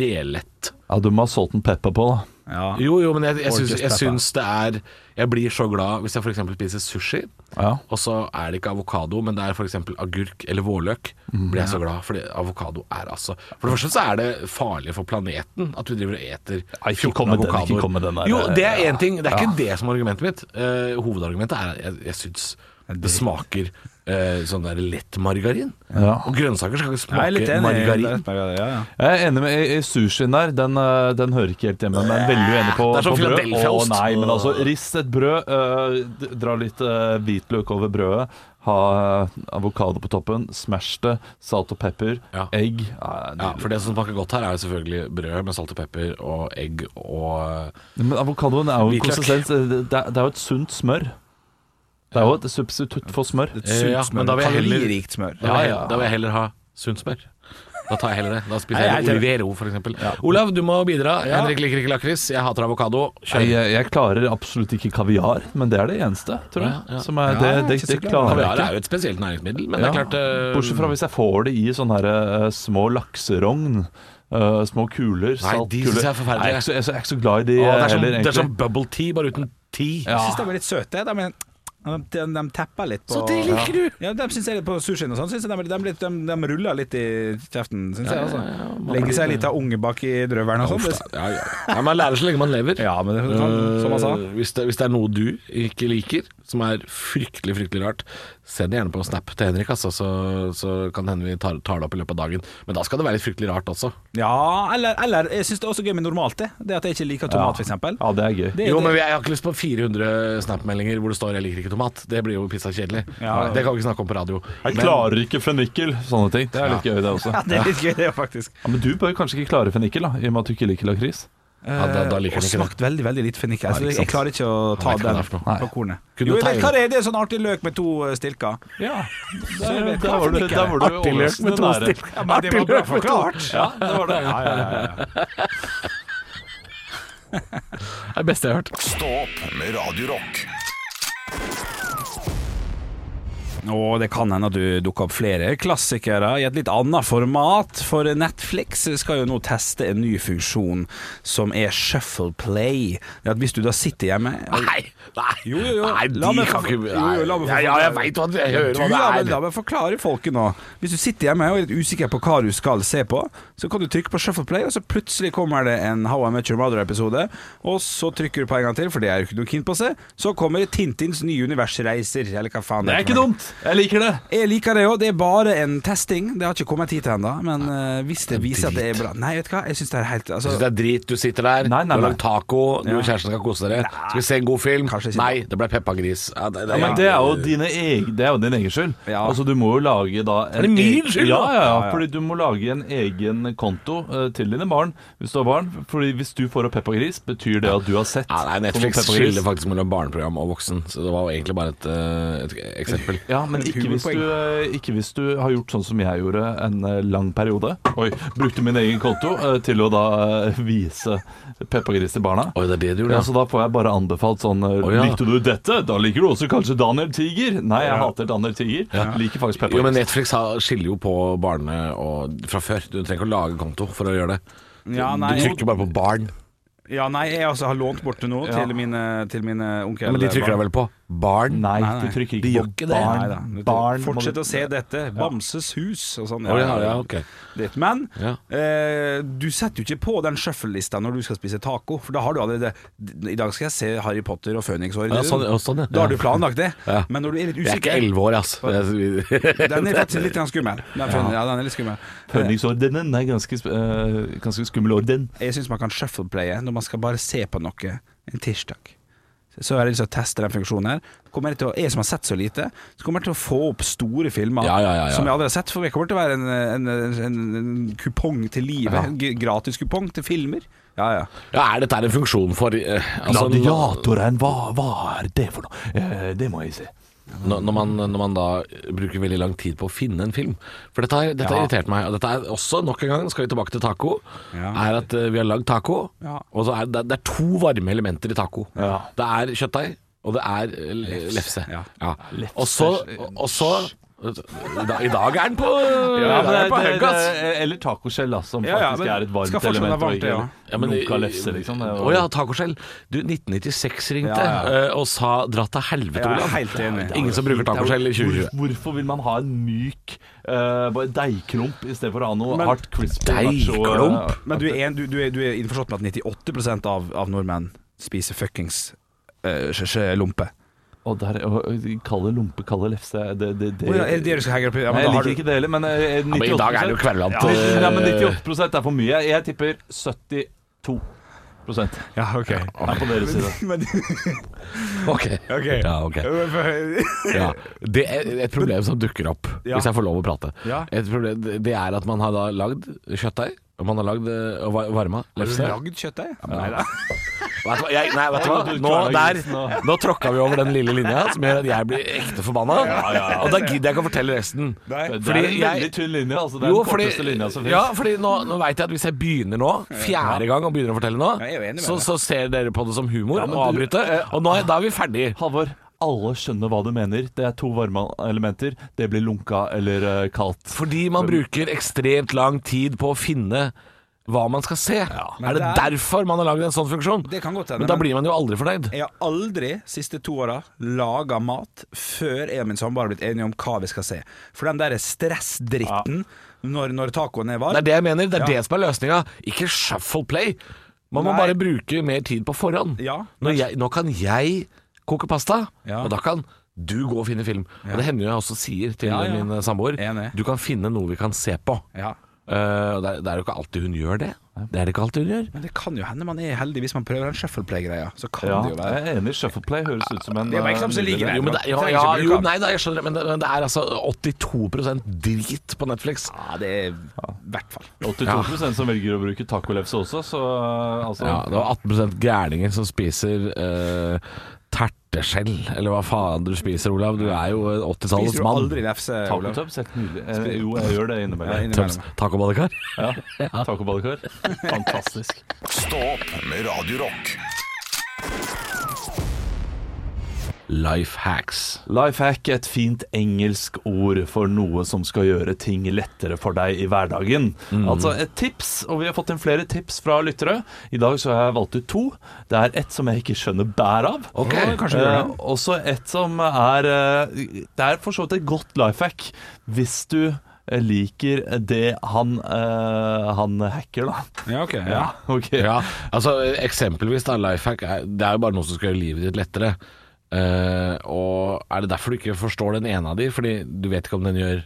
Speaker 3: brelett.
Speaker 4: Ja, du må ha salt and pepper på, da.
Speaker 5: ja.
Speaker 3: Jo, jo, men jeg, jeg,
Speaker 5: Or
Speaker 3: syns,
Speaker 5: just
Speaker 3: jeg
Speaker 5: pepper.
Speaker 3: syns det er Jeg blir så glad hvis jeg f.eks. spiser sushi,
Speaker 5: Ja.
Speaker 3: Og så er det ikke avokado, men det er f.eks. agurk eller vårløk.
Speaker 4: Mm.
Speaker 3: Blir jeg så glad, fordi avokado er altså For det første så er det farlig for planeten at vi driver og eter
Speaker 4: Nei, ikke
Speaker 3: 14
Speaker 4: kom med den,
Speaker 3: avokadoer.
Speaker 4: ikke kom med den der,
Speaker 3: jo, det er
Speaker 4: ja.
Speaker 3: én ting. Det er ikke det som er argumentet mitt. Eh, hovedargumentet er at jeg, jeg syns det smaker eh, sånn der lett margarin.
Speaker 4: Ja.
Speaker 3: Og grønnsaker skal ikke
Speaker 5: Jeg er litt
Speaker 3: smake
Speaker 5: enig.
Speaker 3: margarin.
Speaker 5: Margarin, ja, ja.
Speaker 4: Jeg er enig med i- i sushien der. Den, eh, den hører ikke helt hjemme, men veldig uenig på,
Speaker 3: Det er sånn
Speaker 4: på brød.
Speaker 3: Philadelphia-ost.
Speaker 4: Å, nei, men altså, rist et brød, eh, d- dra litt eh, hvitløk over brødet, ha eh, avokado på toppen, smash det, salt og pepper,
Speaker 3: Ja.
Speaker 4: egg Ja,
Speaker 3: Ja,
Speaker 4: nydelig.
Speaker 3: for det som smaker godt her, er jo selvfølgelig brød med salt og pepper og egg og
Speaker 4: Men avokadoen er jo en
Speaker 3: Hvitløk.
Speaker 4: konsistens. eh, Det, det er- det er jo et sunt smør. Det er jo et substitutt for smør.
Speaker 5: Et sunt
Speaker 3: Eh, Ja,
Speaker 5: smør.
Speaker 3: men da vil jeg heller-
Speaker 5: Kaloririkt smør.
Speaker 3: Da vil, jeg, da vil jeg heller ha sunt smør. Da tar jeg heller det. Da spiser
Speaker 5: Nei,
Speaker 3: jeg
Speaker 5: jeg er enig.
Speaker 3: Olivero, f.eks. eksempel Olav, du må bidra. Henrik liker ikke lakris. Jeg hater avokado. Kjør.
Speaker 4: Jeg, jeg klarer absolutt ikke kaviar, men det er det eneste, tror jeg.
Speaker 3: Ja, ja.
Speaker 4: Som er,
Speaker 5: Ja,
Speaker 4: det, det,
Speaker 5: jeg synes
Speaker 4: det
Speaker 5: ikke
Speaker 4: klarer jeg
Speaker 3: Kaviar
Speaker 4: ikke.
Speaker 3: er jo et spesielt næringsmiddel, men det er
Speaker 4: Ja.
Speaker 3: klart eh,
Speaker 4: Bortsett fra hvis jeg får det i sånne her, eh, små lakserogn. eh, små kuler.
Speaker 3: de
Speaker 4: saltkuler.
Speaker 3: synes jeg er forferdelige.
Speaker 4: Nei, Jeg er, ikke så, jeg, er så, jeg er ikke så glad i de eh,
Speaker 3: Å, det, er sånn som, det
Speaker 4: heller,
Speaker 3: er som
Speaker 4: egentlig.
Speaker 3: bubble tea, bare uten tea.
Speaker 5: Jeg
Speaker 4: Ja.
Speaker 5: syns de er litt søte. De, er- de, de, de tepper litt på
Speaker 3: Så det liker du?
Speaker 5: Ja, de syns jeg litt på sushien og sånn. Synes jeg de, de, litt- de, de ruller litt i kjeften, syns jeg. Altså. Legger seg litt av unge bak i drøvelen og
Speaker 3: Uff
Speaker 5: sånn.
Speaker 3: da. Ja, ja. Nei, man lærer så lenge man lever.
Speaker 5: Ja, men det kan, som han sa.
Speaker 3: Eh, hvis, det, hvis det er noe du ikke liker, som er fryktelig fryktelig rart, send det gjerne på snap til Henrik, altså, så, så kan det hende vi tar, tar det opp i løpet av dagen. Men da skal det være litt fryktelig rart også.
Speaker 5: Ja, eller, eller jeg syns det er også gøy med normalt, det. Det at jeg ikke liker tomat, f.eks.
Speaker 4: Ja, det er gøy.
Speaker 5: Det-
Speaker 3: Jo,
Speaker 5: det-
Speaker 3: men jeg har ikke lyst på 400 Snap-meldinger hvor det står 'jeg liker ikke tomat'. Det blir jo pissa kjedelig.
Speaker 5: Ja.
Speaker 3: Det kan vi ikke snakke om på radio.
Speaker 4: Jeg
Speaker 3: Men-
Speaker 4: klarer ikke fennikel, sånne ting. Det er litt gøy, det også.
Speaker 5: Ja, det er litt gøy, det, faktisk.
Speaker 4: Ja, men du bør kanskje ikke klare fennikel, da, i og med at du ikke liker lakris.
Speaker 3: ja, da, da liker han
Speaker 5: og
Speaker 3: ikke det.
Speaker 5: smakt veldig veldig litt fennikel.
Speaker 3: Ja,
Speaker 5: så
Speaker 3: ikke
Speaker 5: jeg,
Speaker 3: sant.
Speaker 5: jeg klarer ikke å ta
Speaker 3: vet ikke hva
Speaker 5: den
Speaker 3: det er for noe.
Speaker 5: på kornet.
Speaker 3: Kunne
Speaker 5: Jo, jeg
Speaker 3: ta
Speaker 5: vet
Speaker 3: i-
Speaker 5: hva det er. Det er sånn artig løk med to eh, stilker.
Speaker 4: Ja,
Speaker 5: er
Speaker 4: der,
Speaker 5: det-
Speaker 4: der var du, der var du
Speaker 3: Artig løk med
Speaker 4: overraskende
Speaker 3: to
Speaker 4: nære.
Speaker 3: stilk.
Speaker 5: Ja, men det var bra forklart.
Speaker 4: Ja, det var det.
Speaker 5: Ja, ja, ja, ja.
Speaker 3: Det er det beste jeg har hørt.
Speaker 1: Stå opp med Radio Rock.
Speaker 5: Og det kan hende at du dukker opp flere klassikere i et litt annet format, for Netflix skal jo nå teste en ny funksjon som er shuffle play. Det er at hvis du da sitter hjemme
Speaker 3: Nei, nei,
Speaker 5: Jo, jo, jo.
Speaker 3: nei
Speaker 5: La
Speaker 3: de
Speaker 5: meg
Speaker 3: kan
Speaker 5: få-
Speaker 3: ikke
Speaker 5: Jo, jo, la meg få
Speaker 3: Nei, Ja, jeg
Speaker 5: forklare.
Speaker 3: veit hva det jeg hører
Speaker 5: Du,
Speaker 3: hva
Speaker 5: ja, men
Speaker 3: det
Speaker 5: la
Speaker 3: er.
Speaker 5: meg forklare folket nå. Hvis du sitter hjemme og er litt usikker på hva du skal se på, så kan du trykke på Shuffle Play, og så plutselig kommer det en How I Met Your Mother-episode. Og så trykker du på en gang til, for det er jo ikke noe keen på å se. Så kommer Tintins nye universreiser, eller hva faen
Speaker 4: Det er
Speaker 5: for
Speaker 4: ikke
Speaker 5: noe.
Speaker 4: dumt. Jeg liker det.
Speaker 5: Jeg liker det òg, det er bare en testing. Det har ikke kommet hit ennå. Men eh, hvis det
Speaker 3: er
Speaker 5: viser at det er
Speaker 3: drit.
Speaker 5: bra Nei, vet du hva, jeg syns det er helt
Speaker 3: Jeg
Speaker 5: altså,
Speaker 3: synes det er drit. Du sitter der,
Speaker 4: Nei, nei,
Speaker 3: du har
Speaker 4: nei.
Speaker 3: lagd taco, du og kjæresten skal kose dere. Skal vi se en god film?
Speaker 5: Kanskje ikke.
Speaker 3: Nei, det ble Peppa Gris. Ja, det, det,
Speaker 4: Ja, men det er jo, dine eg- det er jo din egen skyld.
Speaker 5: Ja.
Speaker 4: Altså, du må jo lage da en
Speaker 3: Er det min
Speaker 4: e-
Speaker 3: skyld, da?
Speaker 4: Ja, ja,
Speaker 5: Ja,
Speaker 4: ja,
Speaker 5: ja.
Speaker 4: fordi du må lage en egen konto eh, til dine barn hvis du har barn. Fordi hvis du får opp Peppa Gris, betyr det at du har sett
Speaker 3: ja, nei, Netflix
Speaker 4: Peppa Gris.
Speaker 3: skiller faktisk mellom barneprogram og voksen, så det var jo egentlig bare et, eh, et eksempel.
Speaker 4: Ja, men ikke hvis, du, eh, ikke hvis du har gjort sånn som jeg gjorde en eh, lang periode. Oi, brukte min egen konto eh, til å da eh, vise Peppa Gris til barna.
Speaker 3: Oi, det er det du
Speaker 4: Ja,
Speaker 3: gjorde,
Speaker 4: så da får jeg bare anbefalt sånn eh,
Speaker 3: Å, ja.
Speaker 4: Likte du dette? Da liker du også kanskje Daniel Tiger. Nei, jeg hater Daniel Tiger. Liker faktisk Peppa
Speaker 3: Jo, men
Speaker 4: Gris.
Speaker 3: Netflix har- skiller jo på barne og fra før. Du trenger ikke å lage konto for å gjøre det.
Speaker 5: ja, nei,
Speaker 3: du trykker bare på barn.
Speaker 5: ja, nei, jeg altså har lånt bort det nå
Speaker 4: Ja.
Speaker 5: til mine, til mine onkel.
Speaker 3: Ja, men de trykker deg vel på barn?
Speaker 4: Nei,
Speaker 5: Nei, nei.
Speaker 4: du trykker
Speaker 3: De
Speaker 4: ikke
Speaker 3: gjør
Speaker 4: på
Speaker 3: ikke det.
Speaker 4: barn.
Speaker 5: Nei da. Du-
Speaker 4: barn må
Speaker 5: Fortsett
Speaker 4: du-
Speaker 5: å se dette. Bamses hus og sånn.
Speaker 3: Å, ja, ja, ok.
Speaker 5: Litt. Men
Speaker 3: Ja.
Speaker 5: eh, du setter jo ikke på den shuffle-lista når du skal spise taco, for da har du allerede I dag skal jeg se Harry Potter og Fønikshår.
Speaker 3: Ja, sånn- ja, sånn, ja.
Speaker 5: Da har du planlagt det.
Speaker 3: Ja.
Speaker 5: Men når du er litt
Speaker 3: Jeg er ikke
Speaker 5: usikker
Speaker 3: elleve år, ass. Jeg-
Speaker 5: Den er faktisk litt grann skummel. Den er, ja, den er litt skummel.
Speaker 4: Fønningsordenen er ganske, sp- eh, ganske skummel orden.
Speaker 5: Jeg syns man kan shuffle-playe når man skal bare se på noe en tirsdag. Så har jeg lyst til å teste den funksjonen her. Kommer jeg, til å, jeg som har sett så lite, så kommer jeg til å få opp store filmer
Speaker 3: Ja, ja, ja, ja.
Speaker 5: som jeg aldri har sett. For jeg kommer til å være en, en, en, en kupong til livet. En g- Gratis kupong til filmer. Ja, ja.
Speaker 3: Ja, er dette her en funksjon for eh, altså,
Speaker 4: Gladiatoren, hva, hva er det for noe? Eh, det må jeg se.
Speaker 3: når, når, man, når man da bruker veldig lang tid på å finne en film. For dette har dette har
Speaker 5: Ja.
Speaker 3: irritert meg. Og dette er også, nok en gang, skal vi tilbake til taco.
Speaker 5: Ja.
Speaker 3: Er at eh, vi har lagd taco,
Speaker 5: Ja.
Speaker 3: og så er det, det er to varme elementer i taco.
Speaker 4: Ja.
Speaker 3: Det er kjøttdeig, og det er eh, lefse.
Speaker 5: Ja.
Speaker 3: Og så, og så I dag, i dag er den på,
Speaker 4: Ja,
Speaker 3: i dag er den
Speaker 4: men
Speaker 3: på
Speaker 4: det,
Speaker 3: høgg,
Speaker 4: det,
Speaker 3: ass.
Speaker 4: det, eller tacoskjell, da, som
Speaker 5: Ja, ja,
Speaker 4: faktisk
Speaker 5: men
Speaker 4: er et varmt
Speaker 5: skal fortsatt
Speaker 4: element.
Speaker 5: være varmt,
Speaker 4: og ikke
Speaker 5: det, ja.
Speaker 3: Ja, men-
Speaker 4: lunka lefse, liksom. Det, er jo-
Speaker 3: Å ja, tacoskjell. Du, 1996 ringte
Speaker 5: Ja,
Speaker 3: eh, og sa 'dra til helvete',
Speaker 5: Jeg er
Speaker 3: Olav.
Speaker 5: helt enig.
Speaker 3: Ingen som bruker tacoskjell i 2020.
Speaker 4: Hvor- Hvorfor vil man ha en myk eh, bare deigklump i stedet for å ha noe
Speaker 5: Men-
Speaker 4: hardt crispy nacho?
Speaker 3: Deigklump?
Speaker 4: eh,
Speaker 5: Men du er, en, du, du er, du er innforstått med at 98 av, av nordmenn spiser fuckings eh, skje- skje lompe.
Speaker 4: Og der, og, og, kalle lompe, kalle lefse det, det, det,
Speaker 5: Å ja, er det det du skal henge opp i? Ja, men
Speaker 4: Nei, jeg
Speaker 5: da har
Speaker 4: liker
Speaker 5: du-
Speaker 4: ikke det heller, men, eh, 98%,
Speaker 3: men i dag er det jo kverulant,
Speaker 4: Ja,
Speaker 3: eh,
Speaker 4: nei, men 98 er for mye. Jeg tipper 72
Speaker 5: Ja, ok.
Speaker 4: er på deres side.
Speaker 5: Men,
Speaker 3: Ok.
Speaker 5: ok.
Speaker 3: Ja, ok. Ja. Det er et problem som dukker opp,
Speaker 5: Ja.
Speaker 3: hvis jeg får lov å prate.
Speaker 5: Ja.
Speaker 3: Et problem, det er at man har da lagd kjøttdeig, og man har lagd eh, og va- varma lefse.
Speaker 5: Lagd kjøttdeig? Nei da.
Speaker 3: Vet du hva? Jeg, nei, vet du hva?
Speaker 4: du
Speaker 3: Nå,
Speaker 4: kverner
Speaker 3: der,
Speaker 4: grisen og-
Speaker 3: nå tråkka vi over den lille linja som gjør at jeg blir ekte forbanna. Og da gidder jeg ikke å fortelle resten.
Speaker 5: Nei.
Speaker 4: det er en
Speaker 3: Fordi jeg-
Speaker 4: veldig tynn linje, altså. Det er
Speaker 3: Jo,
Speaker 4: den
Speaker 3: fordi,
Speaker 4: korteste linja som finnes.
Speaker 3: ja, fordi nå, nå veit jeg at hvis jeg begynner nå, fjerde gang og begynner å fortelle nå,
Speaker 5: Ja, jeg er jo enig med
Speaker 3: så,
Speaker 5: deg.
Speaker 3: så ser dere på det som humor
Speaker 4: men
Speaker 3: og
Speaker 4: du-
Speaker 3: avbryter. Og nå, er- da er vi ferdig.
Speaker 4: Halvor, alle skjønner hva du mener. Det er to varme elementer. Det blir lunka eller eh, kaldt.
Speaker 3: Fordi man bruker ekstremt lang tid på å finne hva man skal se.
Speaker 5: Men
Speaker 3: Er det
Speaker 5: det er-
Speaker 3: derfor man har lagd en sånn funksjon?
Speaker 5: Det kan godt hende,
Speaker 3: Men da
Speaker 5: men-
Speaker 3: blir man jo aldri fornøyd.
Speaker 5: Jeg har aldri siste to åra laga mat før jeg og min samboer har blitt enige om hva vi skal se. For den der stressdritten når, når tacoen er
Speaker 3: Det
Speaker 5: varm
Speaker 3: er det jeg mener. Det er
Speaker 5: Ja.
Speaker 3: det som er løsninga. Ikke shuffle play. Man må
Speaker 5: Nei.
Speaker 3: bare bruke mer tid på forhånd.
Speaker 5: Ja.
Speaker 3: Når jeg, nå kan jeg koke pasta,
Speaker 5: Ja.
Speaker 3: og da kan du gå og finne film. Og det hender jo jeg også sier til
Speaker 5: Ja, ja.
Speaker 3: min eh, samboer
Speaker 5: Enig.
Speaker 3: du kan finne noe vi kan se på.
Speaker 5: ja.
Speaker 3: Eh, og det er, det er jo ikke alltid hun gjør det. Det er det ikke alltid hun gjør.
Speaker 5: Men det kan jo hende man er heldig hvis man prøver den shuffleplay-greia. Så kan
Speaker 4: Ja,
Speaker 5: det jo
Speaker 4: jeg
Speaker 5: være
Speaker 4: er enig. Shuffle play høres ut som en
Speaker 5: Det er bare
Speaker 4: eh,
Speaker 5: ikke som som
Speaker 4: nydelig-
Speaker 5: ligger der.
Speaker 3: Jo, men det, ja,
Speaker 5: Trenger
Speaker 3: ja,
Speaker 5: ikke bruke
Speaker 3: jo,
Speaker 5: den.
Speaker 3: nei da, jeg skjønner det, men det, men det er altså 82 drit på Netflix.
Speaker 5: Ja, det er i hvert fall.
Speaker 4: 82 som velger å bruke tacolefse også, så eh, altså
Speaker 3: Ja, det var 18 gærninger som spiser eh, terteskjell, eller hva faen du spiser, Olav. Du er jo en 80-tallets
Speaker 5: Spiser du
Speaker 3: mann.
Speaker 5: aldri lefse, Olav?
Speaker 4: Tacotubs, helt nydelig. Eh, Jo, jeg gjør det
Speaker 5: Ja,
Speaker 4: innimellom.
Speaker 5: innimellom.
Speaker 3: Tacobadekar?
Speaker 4: Ja. Tacobadekar. Fantastisk.
Speaker 1: Stå opp med Radio Rock.
Speaker 3: Life hacks.
Speaker 4: Life hack, et fint engelsk ord for noe som skal gjøre ting lettere for deg i hverdagen.
Speaker 5: Mm.
Speaker 4: Altså et tips, og vi har fått inn flere tips fra lyttere. I dag så har jeg valgt ut to. Det er ett som jeg ikke skjønner bæret av.
Speaker 3: Ok.
Speaker 4: Eh,
Speaker 5: kanskje vi gjør det.
Speaker 4: også et som er eh, Det er for så vidt et godt life hack hvis du eh, liker det han, eh, han hacker, da.
Speaker 5: Ja, ok. Ja.
Speaker 4: ok.
Speaker 3: Ja, altså eksempelvis da, life hack er, Det er jo bare noe som skal gjøre livet ditt lettere. Eh, og er det derfor du ikke forstår den ene av de? Fordi du vet ikke om den gjør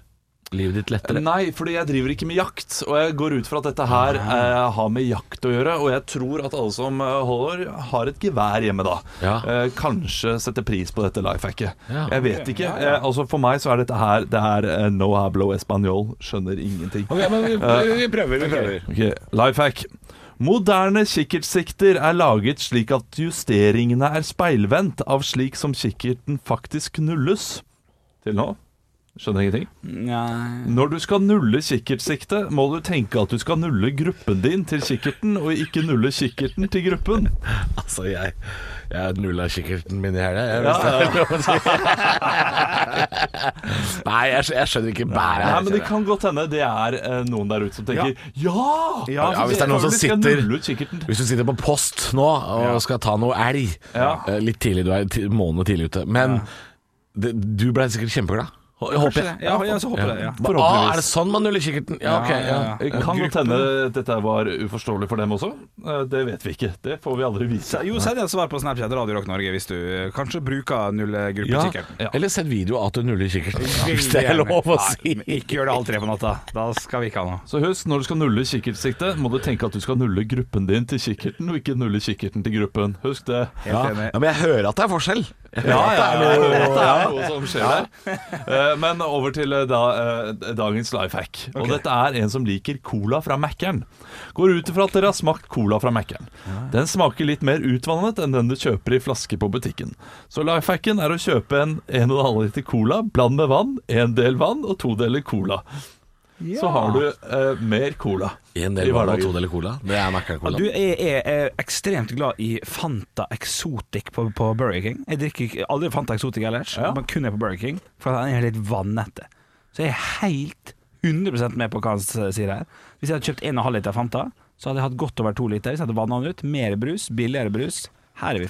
Speaker 3: livet ditt lettere?
Speaker 4: Nei, fordi jeg driver ikke med jakt, og jeg går ut fra at dette her
Speaker 3: Ah.
Speaker 4: eh, har med jakt å gjøre. Og jeg tror at alle som eh, holder, har et gevær hjemme da.
Speaker 3: Ja.
Speaker 4: Eh, kanskje setter pris på dette lifehacket.
Speaker 3: Ja.
Speaker 4: Jeg vet ikke. Eh, altså For meg så er dette her Det er eh, no hablo espanol. Skjønner ingenting.
Speaker 3: Ok, men vi, vi prøver, vi prøver.
Speaker 4: Ok, Lifehack. Moderne kikkertsikter er laget slik at justeringene er speilvendt av slik som kikkerten faktisk nulles. Til nå skjønner ingenting.
Speaker 5: Nei.
Speaker 4: Når du skal nulle kikkertsiktet, må du tenke at du skal nulle gruppen din til kikkerten, og ikke nulle kikkerten til gruppen.
Speaker 3: Altså, jeg, jeg nulla kikkerten min i helga. jeg, hvis
Speaker 4: Ja, ja.
Speaker 3: det er lov å si. Nei, jeg, skj- jeg skjønner ikke bæret.
Speaker 4: Nei,
Speaker 3: her,
Speaker 4: men Det
Speaker 3: kjenner jeg.
Speaker 4: kan godt hende det er eh, noen der ute som tenker ja!
Speaker 5: Ja,
Speaker 3: ja, hvis det er noen som
Speaker 4: selvfølgelig skal jeg
Speaker 3: sitter-
Speaker 4: nulle ut kikkerten.
Speaker 3: Hvis du sitter på post nå og skal ta noe elg
Speaker 4: Ja.
Speaker 3: eh, Litt tidlig, du er ti- måned tidlig ute. Men det, du ble sikkert kjempeglad. Hå- Håper jeg.
Speaker 5: Ja, ja, så håper jeg det. Ja.
Speaker 3: Hva-
Speaker 4: Forhåpentligvis.
Speaker 3: Ah, er det sånn man nuller kikkerten? Ja, ok. Ja,
Speaker 5: ja,
Speaker 4: Det kan godt hende dette var uforståelig for dem også. Eh, Det vet vi ikke. Det får vi aldri vise.
Speaker 5: Jo, send et svar på Snapchat Radio Rock Norge hvis du eh, kanskje bruker
Speaker 3: Ja.
Speaker 5: nullgruppekikkert.
Speaker 3: Eller sett video av at du nuller kikkerten. Hvis det er lov å si.
Speaker 5: Ikke gjør det halv tre på natta. Da skal vi ikke ha noe.
Speaker 4: Så husk, når du skal nulle kikkertsiktet, må du tenke at du skal nulle gruppen din til kikkerten, og ikke nulle kikkerten til gruppen. Husk det.
Speaker 5: Helt
Speaker 3: Ja.
Speaker 5: enig.
Speaker 3: ja, Men jeg hører at det er forskjell.
Speaker 4: Ja, ja, ja, det er noe som skjer der. Eh, Men over til eh, da, eh, dagens life hack. Og dette er en som liker cola fra Mækkern. Går ut ifra at dere har smakt cola fra Mækkern. Den smaker litt mer utvannet enn den du kjøper i flaske på butikken. Så life hacken er å kjøpe en 1,5 liter cola, bland med vann, en del vann og to deler cola. Så har du eh, mer cola.
Speaker 3: En
Speaker 4: I
Speaker 3: del vann og
Speaker 4: hverdagen.
Speaker 3: to deler cola. Det er Mækkern-cola.
Speaker 5: Du, jeg er, er ekstremt glad i Fanta Exotic på, på Burger King. Jeg drikker ikke- aldri Fanta Exotic ellers, men kun er på Burger King, for den er litt vannete. så er jeg helt 100 med på hva han s- sier her. Hvis jeg hadde kjøpt 1,5 liter Fanta, så hadde jeg hatt godt over 2 liter. Så hadde jeg vanna den ut. Mer brus, billigere brus. Her er vi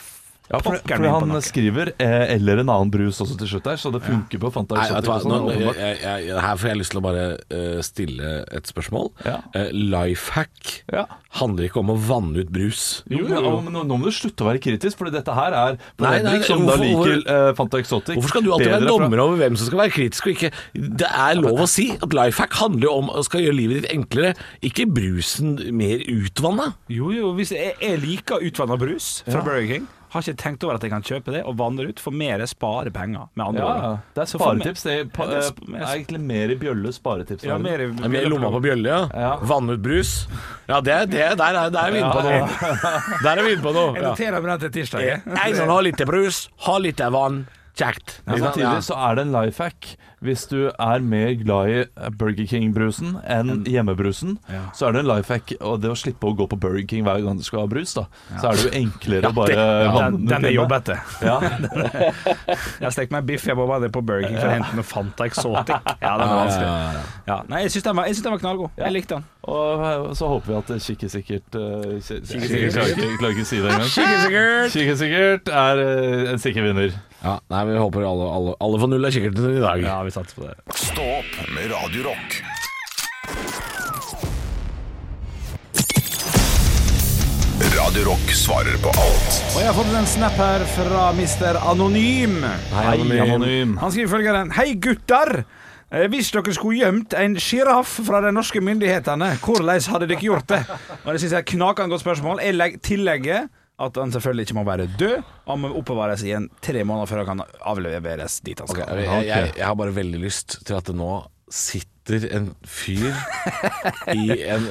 Speaker 4: Ja, for,
Speaker 5: pokker
Speaker 4: for
Speaker 5: meg på
Speaker 4: han
Speaker 5: noe.
Speaker 4: skriver eh, 'eller en annen brus' også til slutt der, så det funker på Fanta.
Speaker 3: Nei, vet du hva,
Speaker 4: Exotic og
Speaker 3: nå,
Speaker 4: sånn,
Speaker 3: jeg,
Speaker 4: åpenbart.
Speaker 3: jeg, jeg, her får jeg lyst til å bare eh, stille et spørsmål.
Speaker 4: Ja.
Speaker 3: life hack
Speaker 4: Ja.
Speaker 3: handler ikke om å vanne ut brus.
Speaker 4: Jo, men, å, men nå nå må du slutte å være kritisk, for dette her er for
Speaker 3: Nei, nei,
Speaker 4: Henrik, som da
Speaker 3: hvorfor-
Speaker 4: liker
Speaker 3: hvorfor-
Speaker 4: eh, Fanta Exotic.
Speaker 3: Hvorfor skal du alltid
Speaker 4: bedre
Speaker 3: være
Speaker 4: fra-
Speaker 3: dommer over hvem som skal være kritisk og ikke? Det er lov å si at life hack handler jo om å skal gjøre livet ditt enklere, ikke brusen mer utvanna.
Speaker 5: Jo, jo, hvis jeg, jeg liker utvanna brus fra Burger King. Har ikke tenkt over at jeg kan kjøpe det og vandre ut for mer spare penger. Med andre
Speaker 4: Ja,
Speaker 5: ord.
Speaker 4: ja. det er
Speaker 5: Så for meg-
Speaker 4: sparetips. Det er, pa,
Speaker 5: Ja, det er sp-
Speaker 4: eh, er egentlig mer i bjølle sparetips.
Speaker 5: Ja, mer,
Speaker 3: Det er Mer i lomma på bjølle, ja.
Speaker 4: Ja.
Speaker 3: Vanne ut brus. Ja, det, er- det, der, er, der er vi inne på noe. Der er vi inne på noe.
Speaker 5: Jeg
Speaker 3: Ja.
Speaker 5: noterer meg den til tirsdag. jeg.
Speaker 3: Einar har litt brus, har litt vann. Kjekt.
Speaker 4: Men Samtidig så er det en life hack. Hvis du er mer glad i eh, Burger King-brusen enn hjemmebrusen,
Speaker 5: Ja.
Speaker 4: så er det en life hack og det å slippe å gå på Burger King hver gang du skal ha brus. da Så er det jo enklere å bare vanne
Speaker 5: Den,
Speaker 4: ut
Speaker 5: den er
Speaker 4: hjemme.
Speaker 5: jobb etter.
Speaker 4: Ja.
Speaker 5: Jeg har stekt meg biff, jeg må bare ned på Burger King for å hente noe Fanta Exotic. Ja, den var vanskelig. Ja, nei, jeg syns den, var- jeg synes den var knallgod. Jeg likte den.
Speaker 4: Og eh, så håper vi at Kikke sikkert eh, kje- Jeg
Speaker 5: sikkert.
Speaker 4: klarer ikke- jeg klarer ikke å si det engang. Kikke sikkert er eh, en sikker vinner.
Speaker 3: Ja, nei, vi håper alle, alle, alle får null av kikkerten i dag.
Speaker 5: Ja, vi satser på det.
Speaker 1: Stå opp med Radio Rock. Radio Rock svarer på alt
Speaker 5: Og jeg har fått en snap her fra Mr. Anonym.
Speaker 4: Hei, Anonym.
Speaker 5: Han skriver følgende Hei, gutter! Eh, Hvis dere skulle gjemt en sjiraff fra de norske myndighetene, hvordan hadde dere gjort det? Og Det synes jeg er et knakende godt spørsmål. Jeg legg- tillegger at han selvfølgelig ikke må være død. Han må oppbevares i en tre måneder før han kan avleveres dit han skal.
Speaker 3: Jeg, jeg, jeg, jeg har bare veldig lyst til at det nå sitter en fyr i en,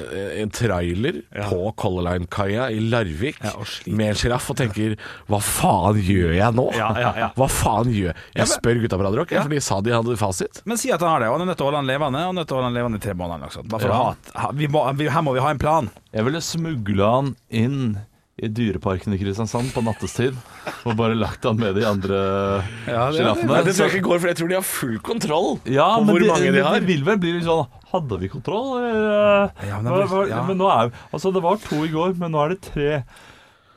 Speaker 3: en trailer på Color Line-kaia i Larvik
Speaker 5: Ja, og sliter.
Speaker 3: med en sjiraff og tenker Hva faen gjør jeg nå?
Speaker 5: Ja, ja, ja.
Speaker 3: Hva faen gjør jeg? Jeg spør gutta på Radio Rock,
Speaker 5: Ja.
Speaker 3: for de sa de hadde fasit.
Speaker 5: Men si at han har det, og han er nødt til å holde han levende. Og han er nødt til å holde han levende i tre måneder. eller noe sånt. Bare for å ha, et- ha vi må, vi, her må vi ha en plan.
Speaker 4: Jeg ville smugla han inn i dyreparken i Kristiansand på nattestid. Og bare lagt han med de andre
Speaker 5: Ja, det-
Speaker 4: sjiraffene.
Speaker 3: Nei, det tror jeg ikke går, for jeg tror de har full kontroll
Speaker 4: Ja,
Speaker 3: på
Speaker 4: men
Speaker 3: hvor
Speaker 4: det,
Speaker 3: mange de
Speaker 4: det-
Speaker 3: har.
Speaker 4: Det vil vel bli litt sånn Hadde vi kontroll? eller, eh,
Speaker 5: Ja, men det
Speaker 4: hva- hva-
Speaker 5: blir- ja.
Speaker 4: men nå er Altså, det var to i går, men nå er det tre.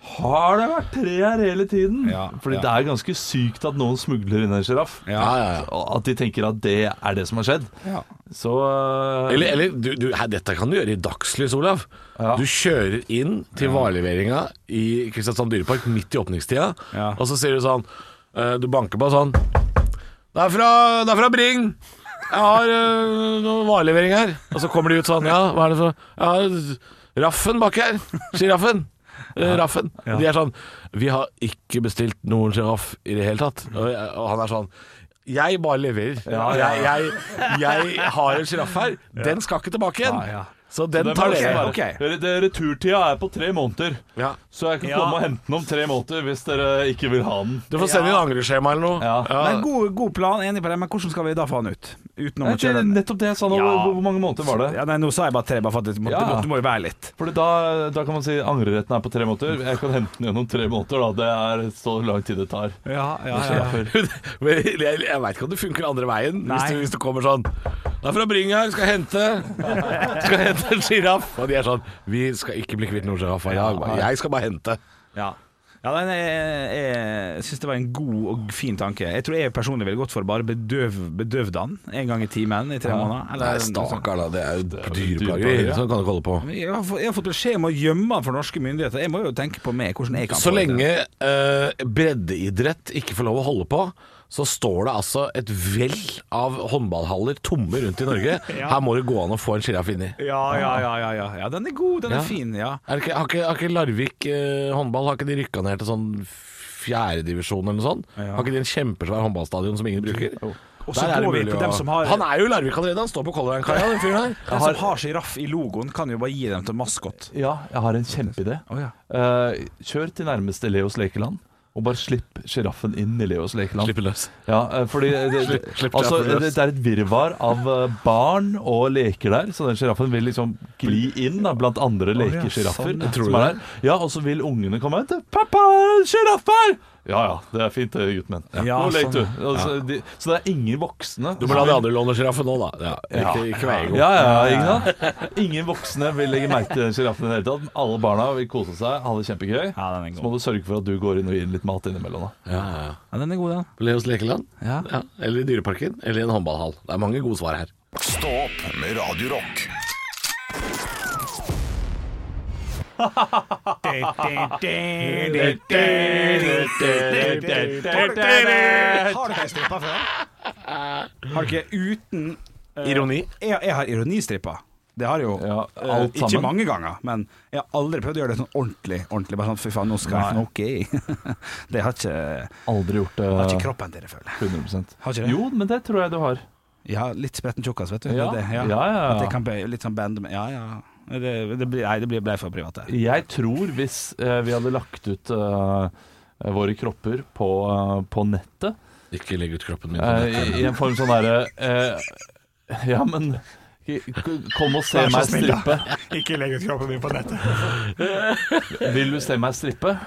Speaker 4: Har det vært tre her hele tiden?
Speaker 5: Ja,
Speaker 4: Fordi
Speaker 5: ja.
Speaker 4: det er ganske sykt at noen smugler inn en sjiraff.
Speaker 3: Ja, ja, ja.
Speaker 4: Og At de tenker at det er det som har skjedd.
Speaker 5: Ja.
Speaker 4: Så eh,
Speaker 3: Eller, eller du, du, her, dette kan du gjøre i dagslys, Olav.
Speaker 4: Ja.
Speaker 3: Du kjører inn til vareleveringa i Kristiansand dyrepark midt i åpningstida,
Speaker 5: Ja.
Speaker 3: og så sier du sånn eh, Du banker på sånn Det er fra, det er fra Bring! Jeg har eh, noen varelevering her. Og så kommer de ut sånn Ja, hva er det for Jeg har Raffen bak her. Sjiraffen. Eh, Raffen. De er sånn Vi har ikke bestilt noen sjiraff i det hele tatt. Og, jeg, og han er sånn Jeg bare leverer. Jeg, jeg, jeg har en sjiraff her. Den skal ikke tilbake igjen.
Speaker 5: Ja, ja.
Speaker 3: Så den
Speaker 4: det må
Speaker 3: tar
Speaker 4: også
Speaker 3: dere.
Speaker 4: være-
Speaker 5: ok.
Speaker 4: Dere- dere- Returtida er på tre måneder,
Speaker 3: Ja.
Speaker 4: så jeg kan
Speaker 5: Ja.
Speaker 4: komme og hente den om tre måneder hvis dere ikke vil ha den.
Speaker 3: Du får sende inn angreskjema eller noe.
Speaker 4: Ja.
Speaker 5: Men god, god plan, enig på det, men hvordan skal vi da få han ut? Utenom
Speaker 4: Nei,
Speaker 5: å kjøre
Speaker 4: det,
Speaker 5: den?
Speaker 4: nettopp det jeg sa nå.
Speaker 5: Ja.
Speaker 4: Hvor- Hvor mange måneder var det?
Speaker 5: Ja, nei, nå sa jeg bare tre, bare for at det må,
Speaker 4: Ja.
Speaker 5: det må, det må jo være litt.
Speaker 4: Fordi da, da kan man si angreretten er på tre måneder. Jeg kan hente den gjennom tre måneder. Da. Det er så lang tid det tar.
Speaker 5: Ja, ja,
Speaker 3: Men jeg jeg veit ikke om det funker andre veien. Hvis
Speaker 5: Nei.
Speaker 3: du, hvis du kommer sånn Det er fra Bring her, skal hente Skal hente en sjiraff. Og de er sånn Vi skal ikke bli kvitt noen sjiraff i dag. Jeg skal bare hente.
Speaker 5: Ja. nei, nei, jeg, jeg syns det var en god og fin tanke. Jeg tror jeg personlig ville gått for å bare bedøve, bedøve den en gang i timen i tre måneder.
Speaker 3: Nei,
Speaker 5: Eller, noe sånt.
Speaker 3: stakkar, da. Det er jo
Speaker 4: dyreplageri,
Speaker 3: dyreplageri.
Speaker 4: ja.
Speaker 3: Sånn kan du ikke holde på.
Speaker 5: jeg, har fått, jeg har fått beskjed om å gjemme den for norske myndigheter. Jeg må jo tenke på meg, hvordan jeg kan
Speaker 3: Så
Speaker 5: få det til.
Speaker 3: lenge eh, breddeidrett ikke får lov å holde på, så står det altså et vell av håndballhaller tomme rundt i Norge. Her må det gå an å få en sjiraff inni.
Speaker 5: ja, ja, ja, ja, ja. ja, den er god, den
Speaker 3: Ja.
Speaker 5: er fin, ja.
Speaker 3: Er det ikke, har, ikke, har ikke Larvik eh, håndball Har ikke de rykka ned til sånn fjerdedivisjon eller noe sånt?
Speaker 5: Ja.
Speaker 3: Har ikke de en kjempesvær håndballstadion som ingen bruker?
Speaker 5: Og så
Speaker 3: Der er det
Speaker 5: går vi
Speaker 3: mulig
Speaker 5: på
Speaker 3: å-
Speaker 5: dem som har-
Speaker 3: Han er jo i Larvik allerede, han står på Color Line-kaia, den fyren
Speaker 5: Den
Speaker 3: der.
Speaker 5: som har sjiraff i logoen, kan jo bare gi dem til maskot.
Speaker 4: Ja, jeg har en kjempeidé.
Speaker 5: Å, ja.
Speaker 4: Eh, kjør til nærmeste Leos lekeland. Og bare slipp sjiraffen inn i Leos lekeland.
Speaker 3: Slipp den løs.
Speaker 4: Ja, eh, fordi det, det,
Speaker 3: Slipp- slipp
Speaker 4: altså,
Speaker 3: sjiraffen løs.
Speaker 4: det, det er et virvar av eh, barn og leker der, så den sjiraffen vil liksom gli inn da, blant andre
Speaker 5: ja,
Speaker 4: lekesjiraffer.
Speaker 5: sånn, ja.
Speaker 4: som er der. Ja, og så vil ungene komme ut. 'Pappa, sjiraff her!' Ja ja, det er fint det, gutten min.
Speaker 5: Ja,
Speaker 4: Nå leker
Speaker 5: sånn,
Speaker 4: du. Altså, de, så det er ingen voksne
Speaker 3: Du må la de andre låne sjiraffen nå, da. Ja, ikke, ikke vær ego.
Speaker 4: Ja, ja, ja, ikke sant? Ingen voksne vil legge merke til den sjiraffen i det hele tatt. Alle barna vil kose seg, ha det kjempegøy.
Speaker 5: Ja, den er god.
Speaker 4: Så må du sørge for at du går inn og gir litt mat innimellom. Da.
Speaker 3: Ja, ja.
Speaker 5: Ja, den er god, den.
Speaker 3: Leos lekeland?
Speaker 5: Ja.
Speaker 3: Ja. Eller i Dyreparken? Eller i en håndballhall? Det er mange gode svar her.
Speaker 1: Stå opp med Radio Rock.
Speaker 6: Har du ikke strippa før?
Speaker 5: Har du ikke uten eh,
Speaker 3: Ironi?
Speaker 5: Jeg, jeg har ironistrippa. Det har jeg jo.
Speaker 4: Ja,
Speaker 5: Eh,
Speaker 4: alt
Speaker 5: ikke
Speaker 4: sammen.
Speaker 5: mange ganger, men jeg har aldri prøvd å gjøre det sånn ordentlig. ordentlig Bare sånn, fy faen, nå skal jeg få noe i. Det har ikke,
Speaker 4: Aldri gjort eh, det
Speaker 5: har ikke kroppen til det, føler jeg.
Speaker 4: 100
Speaker 5: Har ikke det?
Speaker 4: Jo, men det tror jeg du har.
Speaker 5: Jeg har litt spretten tjukkas, vet du.
Speaker 4: Ja.
Speaker 5: Det,
Speaker 4: Ja, ja, ja.
Speaker 5: At jeg kan bøye litt sånn band med Ja, ja. Det, det blir, nei, det blir blei for privat, det.
Speaker 4: Jeg tror hvis eh, vi hadde lagt ut eh, våre kropper på, eh, på nettet
Speaker 3: Ikke legg ut kroppen min. på
Speaker 4: eh,
Speaker 3: nettet.
Speaker 4: i, I en form sånn derre eh, Ja, men k- k- Kom og se
Speaker 6: Vær så
Speaker 4: meg
Speaker 6: snill, da.
Speaker 4: strippe.
Speaker 6: Ikke legg ut kroppen min på nettet.
Speaker 4: Vil du se meg strippe?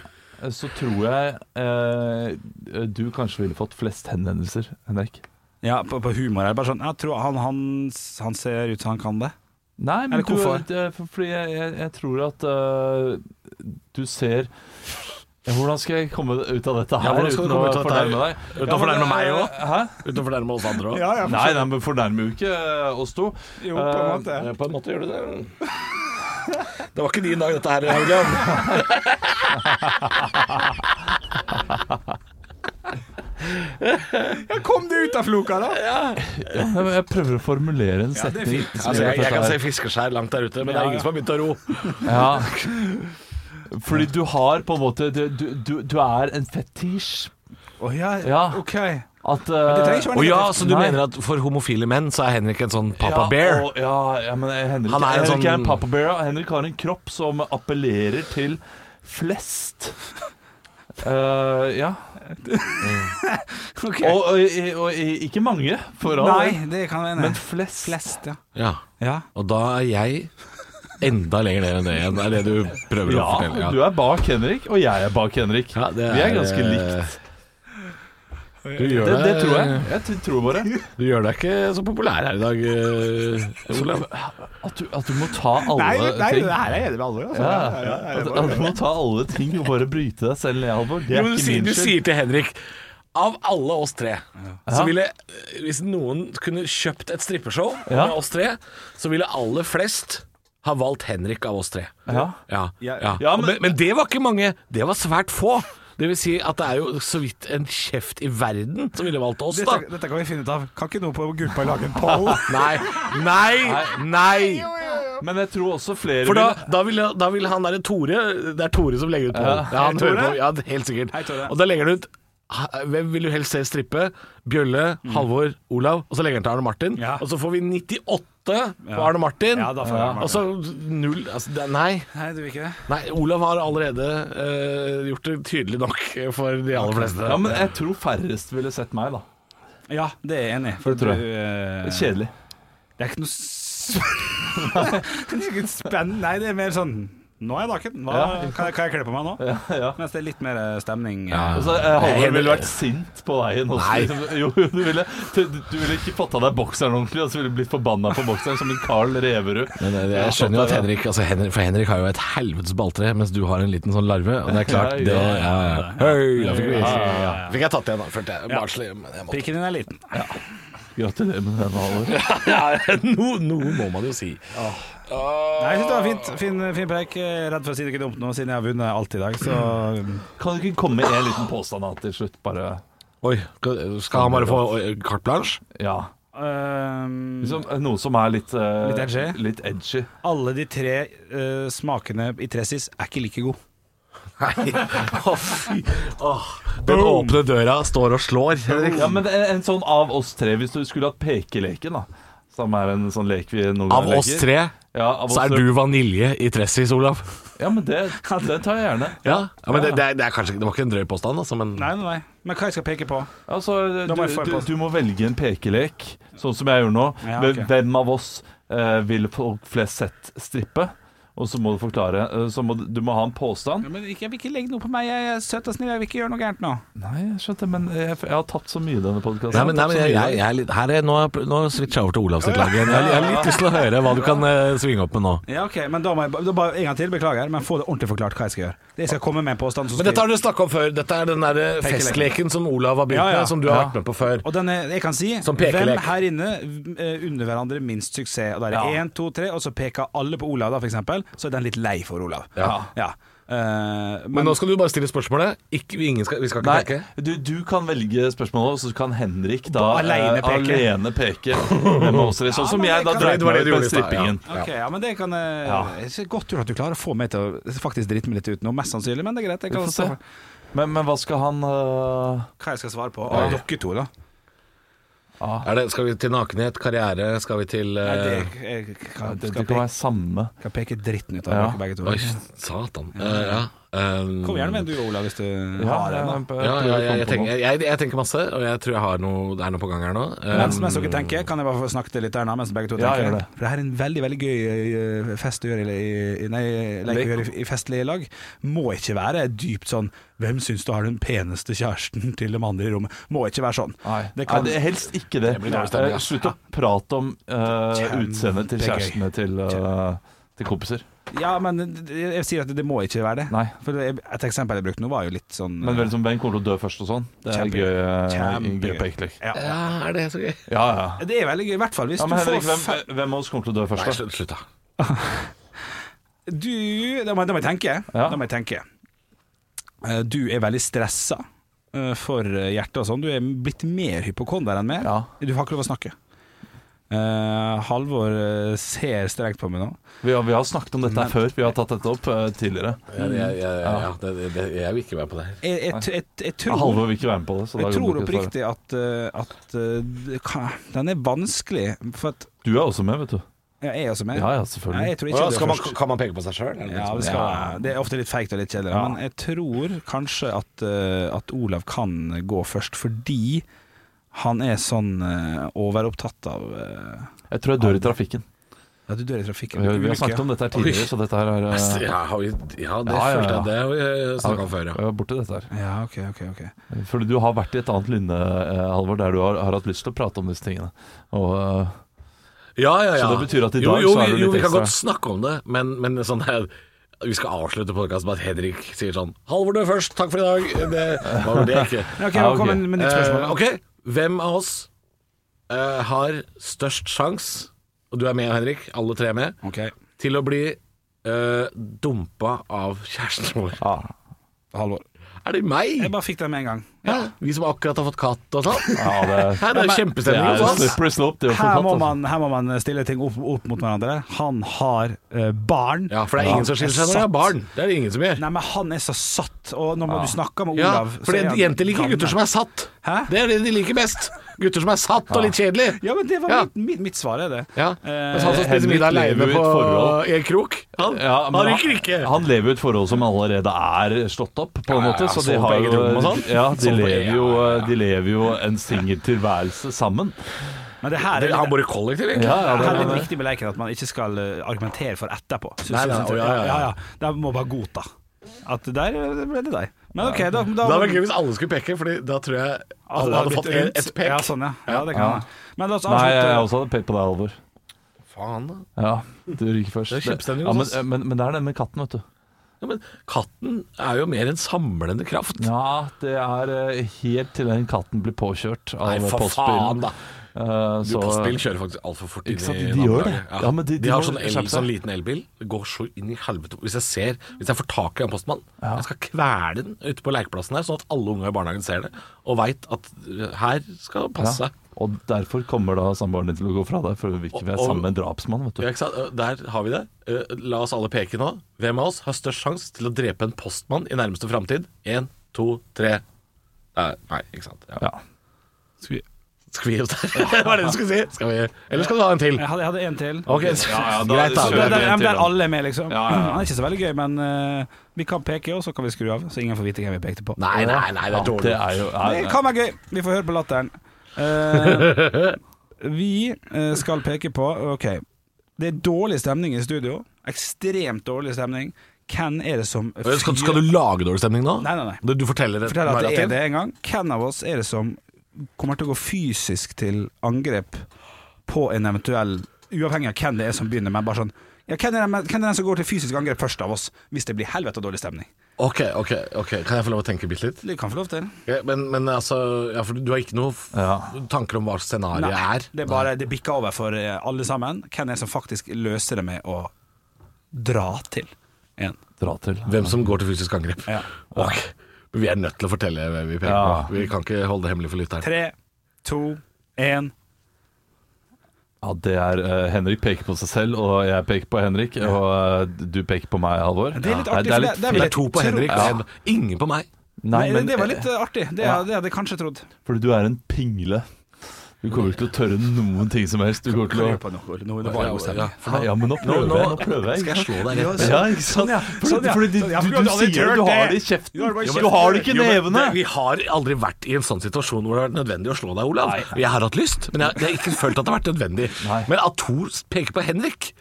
Speaker 4: eh, Så tror jeg eh, du kanskje ville fått flest henvendelser, Henrik.
Speaker 5: Ja, på, på humor er det bare sånn Jeg tror han, han, han ser ut som han kan det.
Speaker 4: Nei, men
Speaker 5: Eller
Speaker 4: du,
Speaker 5: hvorfor?
Speaker 4: det- for- fordi jeg, jeg, jeg tror at eh, du ser Ja, Hvordan skal jeg komme ut av dette her
Speaker 3: hvordan skal du
Speaker 4: uten å
Speaker 3: komme ut av dette her?
Speaker 4: fornærme deg?
Speaker 3: Uten å
Speaker 4: Ja, men,
Speaker 3: fornærme meg
Speaker 4: eh,
Speaker 3: også?
Speaker 4: Hæ?
Speaker 3: Uten å fornærme oss andre òg.
Speaker 6: Ja, ja, for
Speaker 4: Nei,
Speaker 6: så-
Speaker 4: nei, men fornærmer jo ikke eh, oss to. Eh,
Speaker 6: Jo, på en måte.
Speaker 3: Eh, På en måte gjør du det. Det var ikke din dag, dette her, Altså, Haugland.
Speaker 6: Ja, kom deg ut av floka, da!
Speaker 4: Ja, men jeg prøver å formulere en setning.
Speaker 3: Altså, jeg, jeg kan se fiskeskjær langt der ute, men det er ingen som har begynt å ro.
Speaker 4: Ja. Fordi du har på en måte Du, du, du- du er en fetisj.
Speaker 5: Å ja,
Speaker 4: Ja.
Speaker 5: OK.
Speaker 4: At
Speaker 5: det trenger ikke være
Speaker 3: Å ja,
Speaker 5: negativt.
Speaker 3: så du
Speaker 4: Nei.
Speaker 3: mener at for homofile menn så er Henrik en sånn Papa Bear?
Speaker 4: Og, ja, ja, men eh, Henrik,
Speaker 3: Han er en
Speaker 4: Henrik
Speaker 3: sånn-
Speaker 4: er en Papa Bear. Og Henrik har en kropp som appellerer til flest. Eh, ja. Og,
Speaker 5: Ok.
Speaker 4: og, og, og ikke mange, for all
Speaker 5: Nei,
Speaker 4: del,
Speaker 5: det kan være
Speaker 4: men
Speaker 5: enig.
Speaker 4: flest.
Speaker 5: Flest, ja.
Speaker 3: Ja.
Speaker 5: ja.
Speaker 3: Og da er jeg enda lenger ned enn det igjen, er det du prøver å
Speaker 4: Ja,
Speaker 3: fortelle.
Speaker 4: du er bak Henrik, og jeg er bak Henrik.
Speaker 3: Ja, det
Speaker 4: Vi er
Speaker 3: er,
Speaker 4: ganske
Speaker 3: eh,
Speaker 4: likt.
Speaker 3: Du gjør
Speaker 4: Det, det
Speaker 3: deg-
Speaker 4: tror jeg. Jeg t- tror bare
Speaker 3: Du gjør deg ikke så populær her i dag, eh, Olav.
Speaker 4: at du, at du må ta alle
Speaker 6: Nei, nei,
Speaker 4: ting.
Speaker 6: det her er jeg enig med alvor. Altså.
Speaker 4: Ja,
Speaker 6: Ja, ja, ja,
Speaker 4: at,
Speaker 6: det
Speaker 4: at
Speaker 6: var-
Speaker 4: du må ta alle ting og bare bryte deg selv ned, Halvor. Det
Speaker 3: Jo,
Speaker 4: er
Speaker 3: men du,
Speaker 4: ikke
Speaker 3: sier,
Speaker 4: min
Speaker 3: du
Speaker 4: skyld.
Speaker 3: sier til Henrik Av alle oss tre Så ville eh, Hvis noen kunne kjøpt et strippeshow
Speaker 4: Ja.
Speaker 3: Med oss tre Så ville aller flest Ha valgt Henrik av oss tre
Speaker 4: Ja.
Speaker 3: Ja,
Speaker 5: Ja,
Speaker 3: ja.
Speaker 4: ja,
Speaker 3: Og
Speaker 4: men-
Speaker 3: men, men det var ikke mange Det var svært få det vil si at det er jo så vidt en kjeft i verden Som ville valgt oss da
Speaker 5: Dette, dette kan vi finne ut av. Kan ikke noe på gruppa
Speaker 6: Bare lage en poll.
Speaker 3: Nei, nei, nei
Speaker 4: Men jeg tror også flere
Speaker 3: For da,
Speaker 4: ville-
Speaker 3: da, vil, da vil han derre Tore Det er Tore som legger ut
Speaker 4: Ja.
Speaker 3: pollen. Ja, han
Speaker 5: Hei, Tore.
Speaker 3: hører på. Ja, helt sikkert.
Speaker 5: Hei, Tore.
Speaker 3: Og da legger han ut ha- hvem vil du helst se strippe? Bjølle, Halvor, Olav. Og så legger han til Arne Martin.
Speaker 5: Mm. Ja.
Speaker 3: Og så får vi 98 på Arne Martin.
Speaker 5: Ja, da får vi Arne Martin.
Speaker 3: Og så null altså, det, nei,
Speaker 5: Nei, du vil ikke det?
Speaker 3: nei. Olav har allerede eh, gjort det tydelig nok for de aller fleste.
Speaker 4: Ja, men jeg tror færrest ville sett meg, da.
Speaker 5: Ja, det er jeg enig i. For
Speaker 4: Det tror jeg.
Speaker 5: du, eh,
Speaker 4: Kjedelig.
Speaker 5: Det er ikke noe s- Det er ikke spennende Nei, det er mer sånn Nå er jeg naken. Hva
Speaker 4: Ja.
Speaker 5: kan, jeg, kan jeg kle på meg nå?
Speaker 4: ja.
Speaker 5: Mens det er litt mer eh, stemning. eh.
Speaker 4: Altså, eh, Halvor
Speaker 3: Jeg-
Speaker 4: ville vært sint på veien også.
Speaker 3: Nei.
Speaker 4: liksom. Jo, du ville, du, du ville ikke fått av deg bokseren ordentlig, og så ville du blitt forbanna på bokseren som en Carl Reverud.
Speaker 3: Men det- det- jeg skjønner jo at Henrik, altså Henrik For Henrik har jo et helvetes balltre, mens du har en liten sånn larve. Og det er klart,
Speaker 4: Ja,
Speaker 3: det
Speaker 4: ja,
Speaker 3: ja, ja. Hei, da fikk vi
Speaker 4: Ja, ja, ja.
Speaker 3: Fikk jeg tatt igjen, da. Følte jeg. Barnslig. men jeg måtte.
Speaker 5: Pikken din er liten.
Speaker 4: Gratulerer med den, Halvor.
Speaker 3: Ja, no, noe må man jo si.
Speaker 5: Nei, jeg synes det var fint. Fin, fin preik. Eh, Redd for å si noe dumt nå, siden jeg har vunnet alt i dag. Så
Speaker 4: Kan du ikke komme med en liten påstand da, til slutt, bare?
Speaker 3: Oi, skal- skal han bare få oi, carte blanche?
Speaker 4: Ja.
Speaker 5: eh,
Speaker 4: Liksom, noe som er litt eh,
Speaker 5: Litt edgy?
Speaker 4: Litt edgy.
Speaker 5: Alle de tre eh, smakene i Tressis er ikke like gode.
Speaker 3: Nei. Å, fy. Åh. Den åpne døra står og slår. Henrik.
Speaker 4: Ja, men en, en sånn av oss tre, hvis du skulle hatt pekeleken, da. Som er en sånn lek vi noen
Speaker 3: Av
Speaker 4: ganger
Speaker 3: oss
Speaker 4: leker.
Speaker 3: tre
Speaker 4: Ja, av oss
Speaker 3: så er
Speaker 4: tre.
Speaker 3: du vanilje i Tressis, Olav.
Speaker 4: Ja, men det, det tar jeg gjerne.
Speaker 3: Ja, men det, det, er, det er kanskje ikke- Det var ikke en drøy påstand, altså, men
Speaker 5: Nei, nei, nei. Men hva jeg skal peke på?
Speaker 4: Altså,
Speaker 5: Da må jeg få
Speaker 4: du,
Speaker 5: en
Speaker 4: du,
Speaker 5: plass.
Speaker 4: du må velge en pekelek, sånn som jeg gjør nå.
Speaker 5: Ja,
Speaker 4: Hvem-
Speaker 5: ok.
Speaker 4: Hvem av oss eh, vil folk flest sett strippe? Og så må du forklare eh, så må, du- Du må ha en påstand.
Speaker 5: Ja, men ikke, ikke legg noe på meg, jeg er søt og snill, jeg vil ikke gjøre noe gærent nå.
Speaker 4: Nei, jeg skjønte, men jeg, jeg har tapt så mye i denne podkasten.
Speaker 3: Nei, men, nei, men jeg, jeg, jeg er litt, her er, nå, er- nå switcher jeg over til Olav sitt lag igjen. Jeg, jeg har litt lyst til å høre hva du kan eh, svinge opp med nå.
Speaker 5: Ja, ok, men da må jeg ba- da bare en gang til, beklager, men få det ordentlig forklart hva jeg skal gjøre. Jeg skal komme med en påstand som
Speaker 3: Men dette har dere snakka om før. Dette er den der eh, festleken som Olav har begynt
Speaker 5: Ja, ja.
Speaker 3: med, som du har
Speaker 5: Ja.
Speaker 3: vært med på før.
Speaker 5: Og denne, jeg kan si
Speaker 3: Som
Speaker 5: Hvem
Speaker 3: pekelek.
Speaker 5: her inne eh, unner hverandre minst suksess? Og da er det
Speaker 4: Ja.
Speaker 5: én, to, tre, og så peker alle på Olav, da, for eksempel. Så er den litt lei for Olav.
Speaker 3: Ja.
Speaker 5: Eh, men,
Speaker 3: Men nå skal du bare stille spørsmålet. Ikke, ingen skal, vi skal ikke
Speaker 4: Nei,
Speaker 3: peke.
Speaker 4: du, du kan velge spørsmålet, og så kan Henrik da
Speaker 5: Bare alene
Speaker 4: eh,
Speaker 5: peke.
Speaker 4: alene peke. Hvem av oss dere- Sånn som
Speaker 5: men
Speaker 4: jeg da
Speaker 5: det kan-
Speaker 3: Det
Speaker 4: dreit
Speaker 3: var det
Speaker 4: meg
Speaker 3: du
Speaker 4: ut med
Speaker 3: gjorde i stad, ja.
Speaker 4: strippingen.
Speaker 5: Ok, ja, men det kan eh, det er Godt gjort at du klarer å få meg til å faktisk drite meg litt ut nå, mest sannsynlig, men det er greit. Jeg
Speaker 4: Vi
Speaker 5: kan
Speaker 4: får se.
Speaker 5: stå for
Speaker 4: Men, men hva skal han eh,
Speaker 5: hva jeg skal svare på. Av dere to, da.
Speaker 3: Er det, skal vi til nakenhet, karriere? Skal vi til
Speaker 5: Nei, det,
Speaker 3: eh,
Speaker 5: jeg, jeg, kan,
Speaker 4: Det,
Speaker 5: skal,
Speaker 4: det kan
Speaker 5: peke,
Speaker 4: være samme.
Speaker 5: skal peke dritten ut av
Speaker 4: Ja.
Speaker 5: dere begge to.
Speaker 3: Oi, satan. Eh, ja. Um,
Speaker 5: Kom gjerne med en du, Olav, hvis du har en.
Speaker 4: eh,
Speaker 5: da.
Speaker 3: Ja, ja, ja, jeg, tenker, jeg, jeg tenker masse, og jeg tror jeg har noe, det er noe på gang her nå. Um,
Speaker 5: Mens, mens dere tenker, kan jeg bare få snakke til litt her nå, mens begge to
Speaker 4: Ja,
Speaker 5: tenker?
Speaker 4: gjør det.
Speaker 5: For det her er en veldig veldig gøy eh, fest å gjøre i, i, nei, lek å gjøre i, i festlig lag. Må ikke være dypt sånn 'Hvem syns du har den peneste kjæresten til de andre i rommet?' Må ikke være sånn.
Speaker 4: Nei,
Speaker 5: Det kan-
Speaker 4: Nei, det er helst ikke det.
Speaker 3: blir dårlig stemning,
Speaker 4: Eh,
Speaker 3: ass.
Speaker 4: Slutt å prate om eh,
Speaker 5: Kjempegøy.
Speaker 4: utseendet til kjærestene til, eh, til kompiser.
Speaker 5: Ja, men jeg, jeg sier at det må ikke være det.
Speaker 4: Nei.
Speaker 5: For det- et eksempel jeg brukte nå, var jo litt sånn
Speaker 4: Men vel som hvem kommer til å dø først og sånn. Det er
Speaker 5: Kjempegøy.
Speaker 4: gøy, eh,
Speaker 5: Kjempegøy.
Speaker 4: gøy pekelek.
Speaker 5: ja.
Speaker 3: Ehm, ja, er det så gøy?
Speaker 4: Ja, ja.
Speaker 5: Det er veldig gøy, i hvert fall hvis
Speaker 4: ja men
Speaker 5: du får
Speaker 4: Henrik,
Speaker 5: fe-
Speaker 4: hvem, hvem av oss kommer til å dø
Speaker 3: Nei,
Speaker 4: først? da?
Speaker 3: slutt, slutt da.
Speaker 5: Du Da må, jeg- da må jeg tenke.
Speaker 4: Ja.
Speaker 5: Da må jeg tenke. Eh, Du er veldig stressa eh, for hjertet og sånn. Du er blitt mer hypokonder enn meg.
Speaker 4: Ja.
Speaker 5: Du har ikke lov å snakke. Eh, Halvor eh, ser strengt på meg nå.
Speaker 4: Vi har, vi har snakket om dette her før. Vi har tatt dette opp eh, tidligere.
Speaker 3: Jeg,
Speaker 4: Mm.
Speaker 3: jeg, jeg, ja, det, det, det, jeg vil ikke være på det her.
Speaker 5: Jeg, jeg, jeg, jeg tror
Speaker 4: Halvor vil ikke være med på det. Så da
Speaker 5: jeg
Speaker 4: går
Speaker 5: tror
Speaker 4: det ikke å svare.
Speaker 5: oppriktig at, eh, at eh, det kan- den er vanskelig, for at
Speaker 4: Du er også med, vet du.
Speaker 5: ja, jeg er også med.
Speaker 4: Ja, ja,
Speaker 5: Nei,
Speaker 4: selvfølgelig.
Speaker 5: jeg tror ikke
Speaker 3: Å,
Speaker 5: du er
Speaker 3: skal man,
Speaker 5: først.
Speaker 3: kan man peke på seg sjøl?
Speaker 5: Ja, det, skal, det er ofte litt feigt og litt kjedelig,
Speaker 4: Ja.
Speaker 5: men jeg tror kanskje at, eh, at Olav kan gå først, fordi han er sånn eh, overopptatt av eh,
Speaker 4: Jeg tror jeg dør i trafikken.
Speaker 5: Ja, du dør i trafikken.
Speaker 4: Vi har, vi
Speaker 5: Ulykke,
Speaker 4: har snakket om dette her tidligere, så dette her er eh,
Speaker 3: Ja, har vi, ja, det
Speaker 4: Ja, ja,
Speaker 3: følte
Speaker 4: ja.
Speaker 3: jeg. Det har vi snakka om før, ja.
Speaker 4: Jeg var borti dette her.
Speaker 5: ja. ja, ok, ok. ok
Speaker 4: Fordi du har vært i et annet lynne, eh, Halvor, der du har, har hatt lyst til å prate om disse tingene. Og eh,
Speaker 3: Ja, ja, ja.
Speaker 4: Så det betyr at i
Speaker 3: Jo,
Speaker 4: dag
Speaker 3: jo,
Speaker 4: så er
Speaker 3: jo,
Speaker 4: det litt
Speaker 3: vi kan
Speaker 4: ekstra.
Speaker 3: godt snakke om det, men, men sånn her vi skal avslutte podkasten med at Henrik sier sånn 'Halvor dør først, takk for i dag'. Det var vel det ikke.
Speaker 5: Ja, ok,
Speaker 4: Ja, ok.
Speaker 5: Kom med- med nytt spørsmål.
Speaker 3: Eh,
Speaker 5: da.
Speaker 3: ok, hvem av oss eh, har størst sjans, og du er med Henrik, alle tre er med,
Speaker 5: Ok,
Speaker 3: til å bli eh, dumpa av kjæresten vår?
Speaker 4: ja.
Speaker 5: Halvor.
Speaker 3: Er det meg?
Speaker 5: Jeg bare fikk den med en gang.
Speaker 3: Hæ? Vi som akkurat har fått katt og sånn?
Speaker 4: Ja, det,
Speaker 3: Hæ, det er jo
Speaker 4: det
Speaker 3: kjempestemning
Speaker 4: er
Speaker 3: hos oss.
Speaker 4: slippery slope. Det å få
Speaker 5: Her
Speaker 3: sånn.
Speaker 5: må
Speaker 4: katt, altså.
Speaker 5: man, her må man stille ting opp, opp mot hverandre. Han har eh, barn.
Speaker 3: Ja, for det er ingen som skiller seg når de
Speaker 5: satt.
Speaker 3: har barn. Det er det ingen som gjør.
Speaker 5: Nei, men han er så satt, og når du snakker med
Speaker 3: Ja,
Speaker 5: Olav så
Speaker 3: for
Speaker 5: er
Speaker 3: det,
Speaker 5: han
Speaker 3: jenter liker
Speaker 5: gammel.
Speaker 3: gutter som er satt.
Speaker 5: Hæ?
Speaker 3: Det er det de liker best. Gutter som er satt og litt kjedelige.
Speaker 5: Ja, men det var
Speaker 3: Ja.
Speaker 5: mitt, mitt, mitt svar, er det.
Speaker 3: Ja. Mens han som
Speaker 4: Eh,
Speaker 3: spiser
Speaker 4: Henrik
Speaker 3: middag
Speaker 4: lever
Speaker 3: aleine
Speaker 4: jo i et
Speaker 3: på
Speaker 4: forhold.
Speaker 3: i en krok, han,
Speaker 4: Ja, men
Speaker 3: han ryker ikke.
Speaker 4: Han lever jo et forhold som allerede er slått opp, på en
Speaker 3: Ja, ja,
Speaker 4: måte. så de
Speaker 3: sover på
Speaker 4: har
Speaker 3: eget
Speaker 4: jo
Speaker 3: rom og sånn.
Speaker 4: Ja, de
Speaker 3: Sover på-
Speaker 4: lever jo, eh,
Speaker 3: ja, ja, ja.
Speaker 4: de lever jo en singel tilværelse sammen.
Speaker 5: Men det her
Speaker 3: Det-
Speaker 5: er,
Speaker 3: han bor i kollektiv, egentlig.
Speaker 4: Ja, ja,
Speaker 5: her
Speaker 4: det,
Speaker 5: er
Speaker 4: det,
Speaker 5: litt viktig med leken at man ikke skal eh, argumentere for etterpå. Synes
Speaker 3: Nei, nei,
Speaker 5: jeg-
Speaker 3: å, ja, ja, ja.
Speaker 5: Da må man bare godta at der eh, ble det deg. Men OK, da, da
Speaker 3: Det hadde vært gøy hvis alle skulle peke, Fordi da tror jeg
Speaker 5: Altså,
Speaker 3: alle
Speaker 5: det
Speaker 3: hadde
Speaker 5: blitt
Speaker 3: fått en,
Speaker 5: rundt.
Speaker 3: et pek.
Speaker 5: Ja, sånn, ja. ja det kan
Speaker 4: Ja.
Speaker 5: man. Men la oss
Speaker 4: Nei, jeg
Speaker 5: avslutte.
Speaker 4: også hadde pekt på deg, Halvor.
Speaker 3: Faen, da.
Speaker 4: Ja, du ryker først.
Speaker 3: Det er kjempestemning
Speaker 4: ja, men, eh,
Speaker 3: hos
Speaker 4: men, men det er den med katten, vet du.
Speaker 3: Ja, men katten er jo mer en samlende kraft.
Speaker 4: Ja, det er eh, helt til den katten blir påkjørt av
Speaker 3: Nei, for faen,
Speaker 4: postbilen.
Speaker 3: da.
Speaker 4: Eh,
Speaker 3: Du,
Speaker 4: så-
Speaker 3: postbilen kjører faktisk altfor fort inn
Speaker 4: Ikke sant,
Speaker 3: i
Speaker 4: de gjør det.
Speaker 3: nabolaget.
Speaker 4: Ja, men de-
Speaker 3: de,
Speaker 4: de
Speaker 3: har
Speaker 4: må
Speaker 3: sånn, el,
Speaker 4: skjerpe seg.
Speaker 3: sånn liten elbil. Det går så inn i helvete Hvis jeg ser Hvis jeg får tak i en postmann Jeg skal kvele den ute på lekeplassen her, sånn at alle unger i barnehagen ser det og veit at uh, her skal det passe
Speaker 4: ja.
Speaker 3: seg.
Speaker 4: Og derfor kommer da samboeren din til å gå fra deg, for vi ikke vil være
Speaker 3: Og- og-
Speaker 4: sammen med en drapsmann, vet du.
Speaker 3: Ja, ikke sant? Uh, Der har vi det. Uh, La oss alle peke nå. Hvem av oss har størst sjanse til å drepe en postmann i nærmeste framtid? Én, to, tre Nei, nei, ikke sant. Ja.
Speaker 4: Ja.
Speaker 3: Skal vi gi oss der? det var det du skulle si. Skal vi, eller skal du ha en til?
Speaker 5: Jeg hadde, jeg hadde en til.
Speaker 3: Ok,
Speaker 4: ja, da
Speaker 3: greit,
Speaker 5: Så Der,
Speaker 3: da.
Speaker 4: kjører vi. en
Speaker 5: der,
Speaker 4: til,
Speaker 5: der
Speaker 4: da.
Speaker 5: alle er med, liksom.
Speaker 4: Ja, ja, ja.
Speaker 5: Han er ikke så veldig gøy, men eh, vi kan peke, og så kan vi skru av. Så ingen får vite hvem vi pekte på.
Speaker 3: Nei, nei, nei, det er dårlig.
Speaker 4: Det er jo er,
Speaker 5: Det kan være gøy. Vi får høre på latteren. Eh, vi eh, skal peke på OK. Det er dårlig stemning i studio. Ekstremt dårlig stemning. Hvem er det som
Speaker 3: Skal, skal du lage dårlig stemning nå?
Speaker 5: Nei, nei, nei.
Speaker 3: Du, du forteller et
Speaker 5: Fortell at det er
Speaker 3: narrativ?
Speaker 5: det en gang. Hvem av oss er det som kommer til å gå fysisk til angrep på en eventuell Uavhengig av hvem det er som begynner, men bare sånn ja, hvem, er den, hvem er den som går til fysisk angrep først av oss, hvis det blir helvete dårlig stemning?
Speaker 3: Ok, ok, ok. Kan jeg få lov å tenke bitte litt?
Speaker 5: Det kan få lov til.
Speaker 3: Ja, men, men altså ja, for Du har ikke noen f
Speaker 4: Ja.
Speaker 3: tanker om hva scenarioet er?
Speaker 5: det er bare det bikker over for eh, alle sammen. Hvem er det som faktisk løser det med å dra til en?
Speaker 4: Dra til.
Speaker 3: Hvem som går til fysisk angrep?
Speaker 5: Ja.
Speaker 3: Ok. Men vi er nødt til å fortelle hvem vi peker
Speaker 4: Ja.
Speaker 3: på. Vi kan ikke holde det hemmelig for lytteren.
Speaker 5: Tre, to, én.
Speaker 4: Ja, det er eh, Henrik peker på seg selv, og jeg peker på Henrik, og eh, du peker på meg, Halvor.
Speaker 5: Det er litt
Speaker 3: Det
Speaker 4: Ja, det er litt
Speaker 5: artig, for det- det er vel-
Speaker 4: fint.
Speaker 3: er to på
Speaker 5: Tror-
Speaker 3: Henrik,
Speaker 4: Ja.
Speaker 3: og en- ingen på meg.
Speaker 4: Nei,
Speaker 5: Nei,
Speaker 4: men
Speaker 5: det var litt eh, artig. Det,
Speaker 4: Ja.
Speaker 5: det hadde jeg kanskje trodd.
Speaker 4: Fordi du er en pingle. Du kommer ikke til å tørre noen ting som helst. Du kommer til å
Speaker 5: Hør på noe, Ole. Nå er det bare god stemning.
Speaker 3: Ja, for da-
Speaker 4: Ja, men nå prøver jeg. Nå prøver jeg.
Speaker 3: Skal jeg slå deg rett
Speaker 4: Ja, ikke sant? Fordi,
Speaker 5: sånn, ja.
Speaker 4: fordi du,
Speaker 5: Sånn, ja,
Speaker 4: du,
Speaker 5: for du
Speaker 4: du
Speaker 5: hadde aldri
Speaker 4: sier jo
Speaker 5: tørt
Speaker 4: du har
Speaker 5: det.
Speaker 4: det i kjeften.
Speaker 5: Du har det bare i
Speaker 4: Ja, men Du
Speaker 5: kjeften.
Speaker 4: har det ikke i
Speaker 3: Jo, men
Speaker 4: nevene.
Speaker 3: det- Vi har aldri vært i en sånn situasjon hvor det har vært nødvendig å slå deg, Olav. Jeg har hatt lyst, men jeg, jeg har ikke følt at det har vært nødvendig.
Speaker 4: Nei.
Speaker 3: Men at Thor peker på Henrik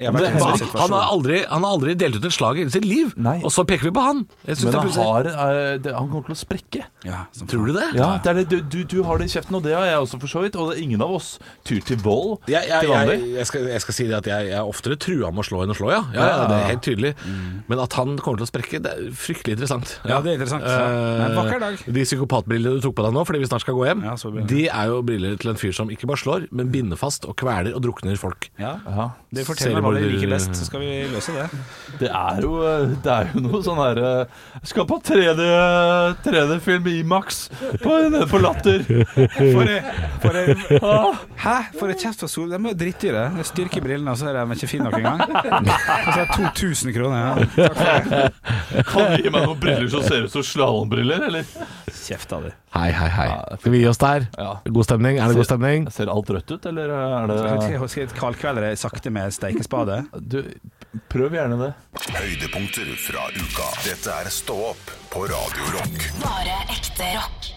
Speaker 5: Jeg har
Speaker 3: det,
Speaker 5: vært i en sånn
Speaker 3: han,
Speaker 5: situasjon.
Speaker 3: har aldri, han har aldri delt ut en slag i hele sitt liv,
Speaker 4: Nei.
Speaker 3: og så peker vi på han. Jeg synes
Speaker 4: Men
Speaker 3: det er
Speaker 4: han,
Speaker 3: pussig.
Speaker 4: har, eh, det, han kommer til å sprekke.
Speaker 5: Ja, som
Speaker 3: Tror du det?
Speaker 4: Ja, det er det, du, du, du har det i kjeften, og det har jeg også for så vidt. Og det er ingen av oss tyr til vold
Speaker 3: Jeg, jeg,
Speaker 4: til vanlig.
Speaker 3: jeg, jeg, skal, jeg skal si det at jeg, jeg er oftere trua med å slå enn å slå, ja. ja, ja
Speaker 4: Ja. Mm.
Speaker 3: det er helt tydelig. Men at han kommer til å sprekke, det er fryktelig interessant.
Speaker 5: Ja, det er interessant.
Speaker 3: Eh,
Speaker 5: Men vakker dag.
Speaker 3: De psykopatbrillene du tok på deg nå fordi vi snart skal gå hjem,
Speaker 5: Ja, så blir det.
Speaker 3: de er jo briller til en fyr som ikke bare slår, men binder fast og kveler og drukner folk.
Speaker 5: Ja.
Speaker 4: Ja.
Speaker 5: Du forteller meg hva du
Speaker 3: Seriemorder-
Speaker 5: liker best, så skal vi løse det.
Speaker 4: Det er jo, eh, det er jo noe sånn herre Skal på 3D 3D-film i Max på, på Latter.
Speaker 5: For en- for en- Hæ? For en kjeft fra Sol. De er jo drittdyre. Jeg styrker brillene, og så er de ikke fine nok engang. Og så er det 2000 kroner. Ja. Takk for det.
Speaker 4: Kan du gi meg noen briller som ser ut som slalåmbriller, eller?
Speaker 5: Kjefta di.
Speaker 3: Hei, hei, hei.
Speaker 4: Ja, det er fint.
Speaker 3: Skal vi gi oss der?
Speaker 4: Ja.
Speaker 3: God stemning? Er det god stemning?
Speaker 4: Ser alt rødt ut, eller eh, er det eh,
Speaker 5: Skal jeg kaldkvelde sakte med steikespade?
Speaker 4: Du, prøv gjerne det.
Speaker 1: Høydepunkter fra uka. Dette er Stå opp på Radio Rock.
Speaker 2: Bare ekte rock.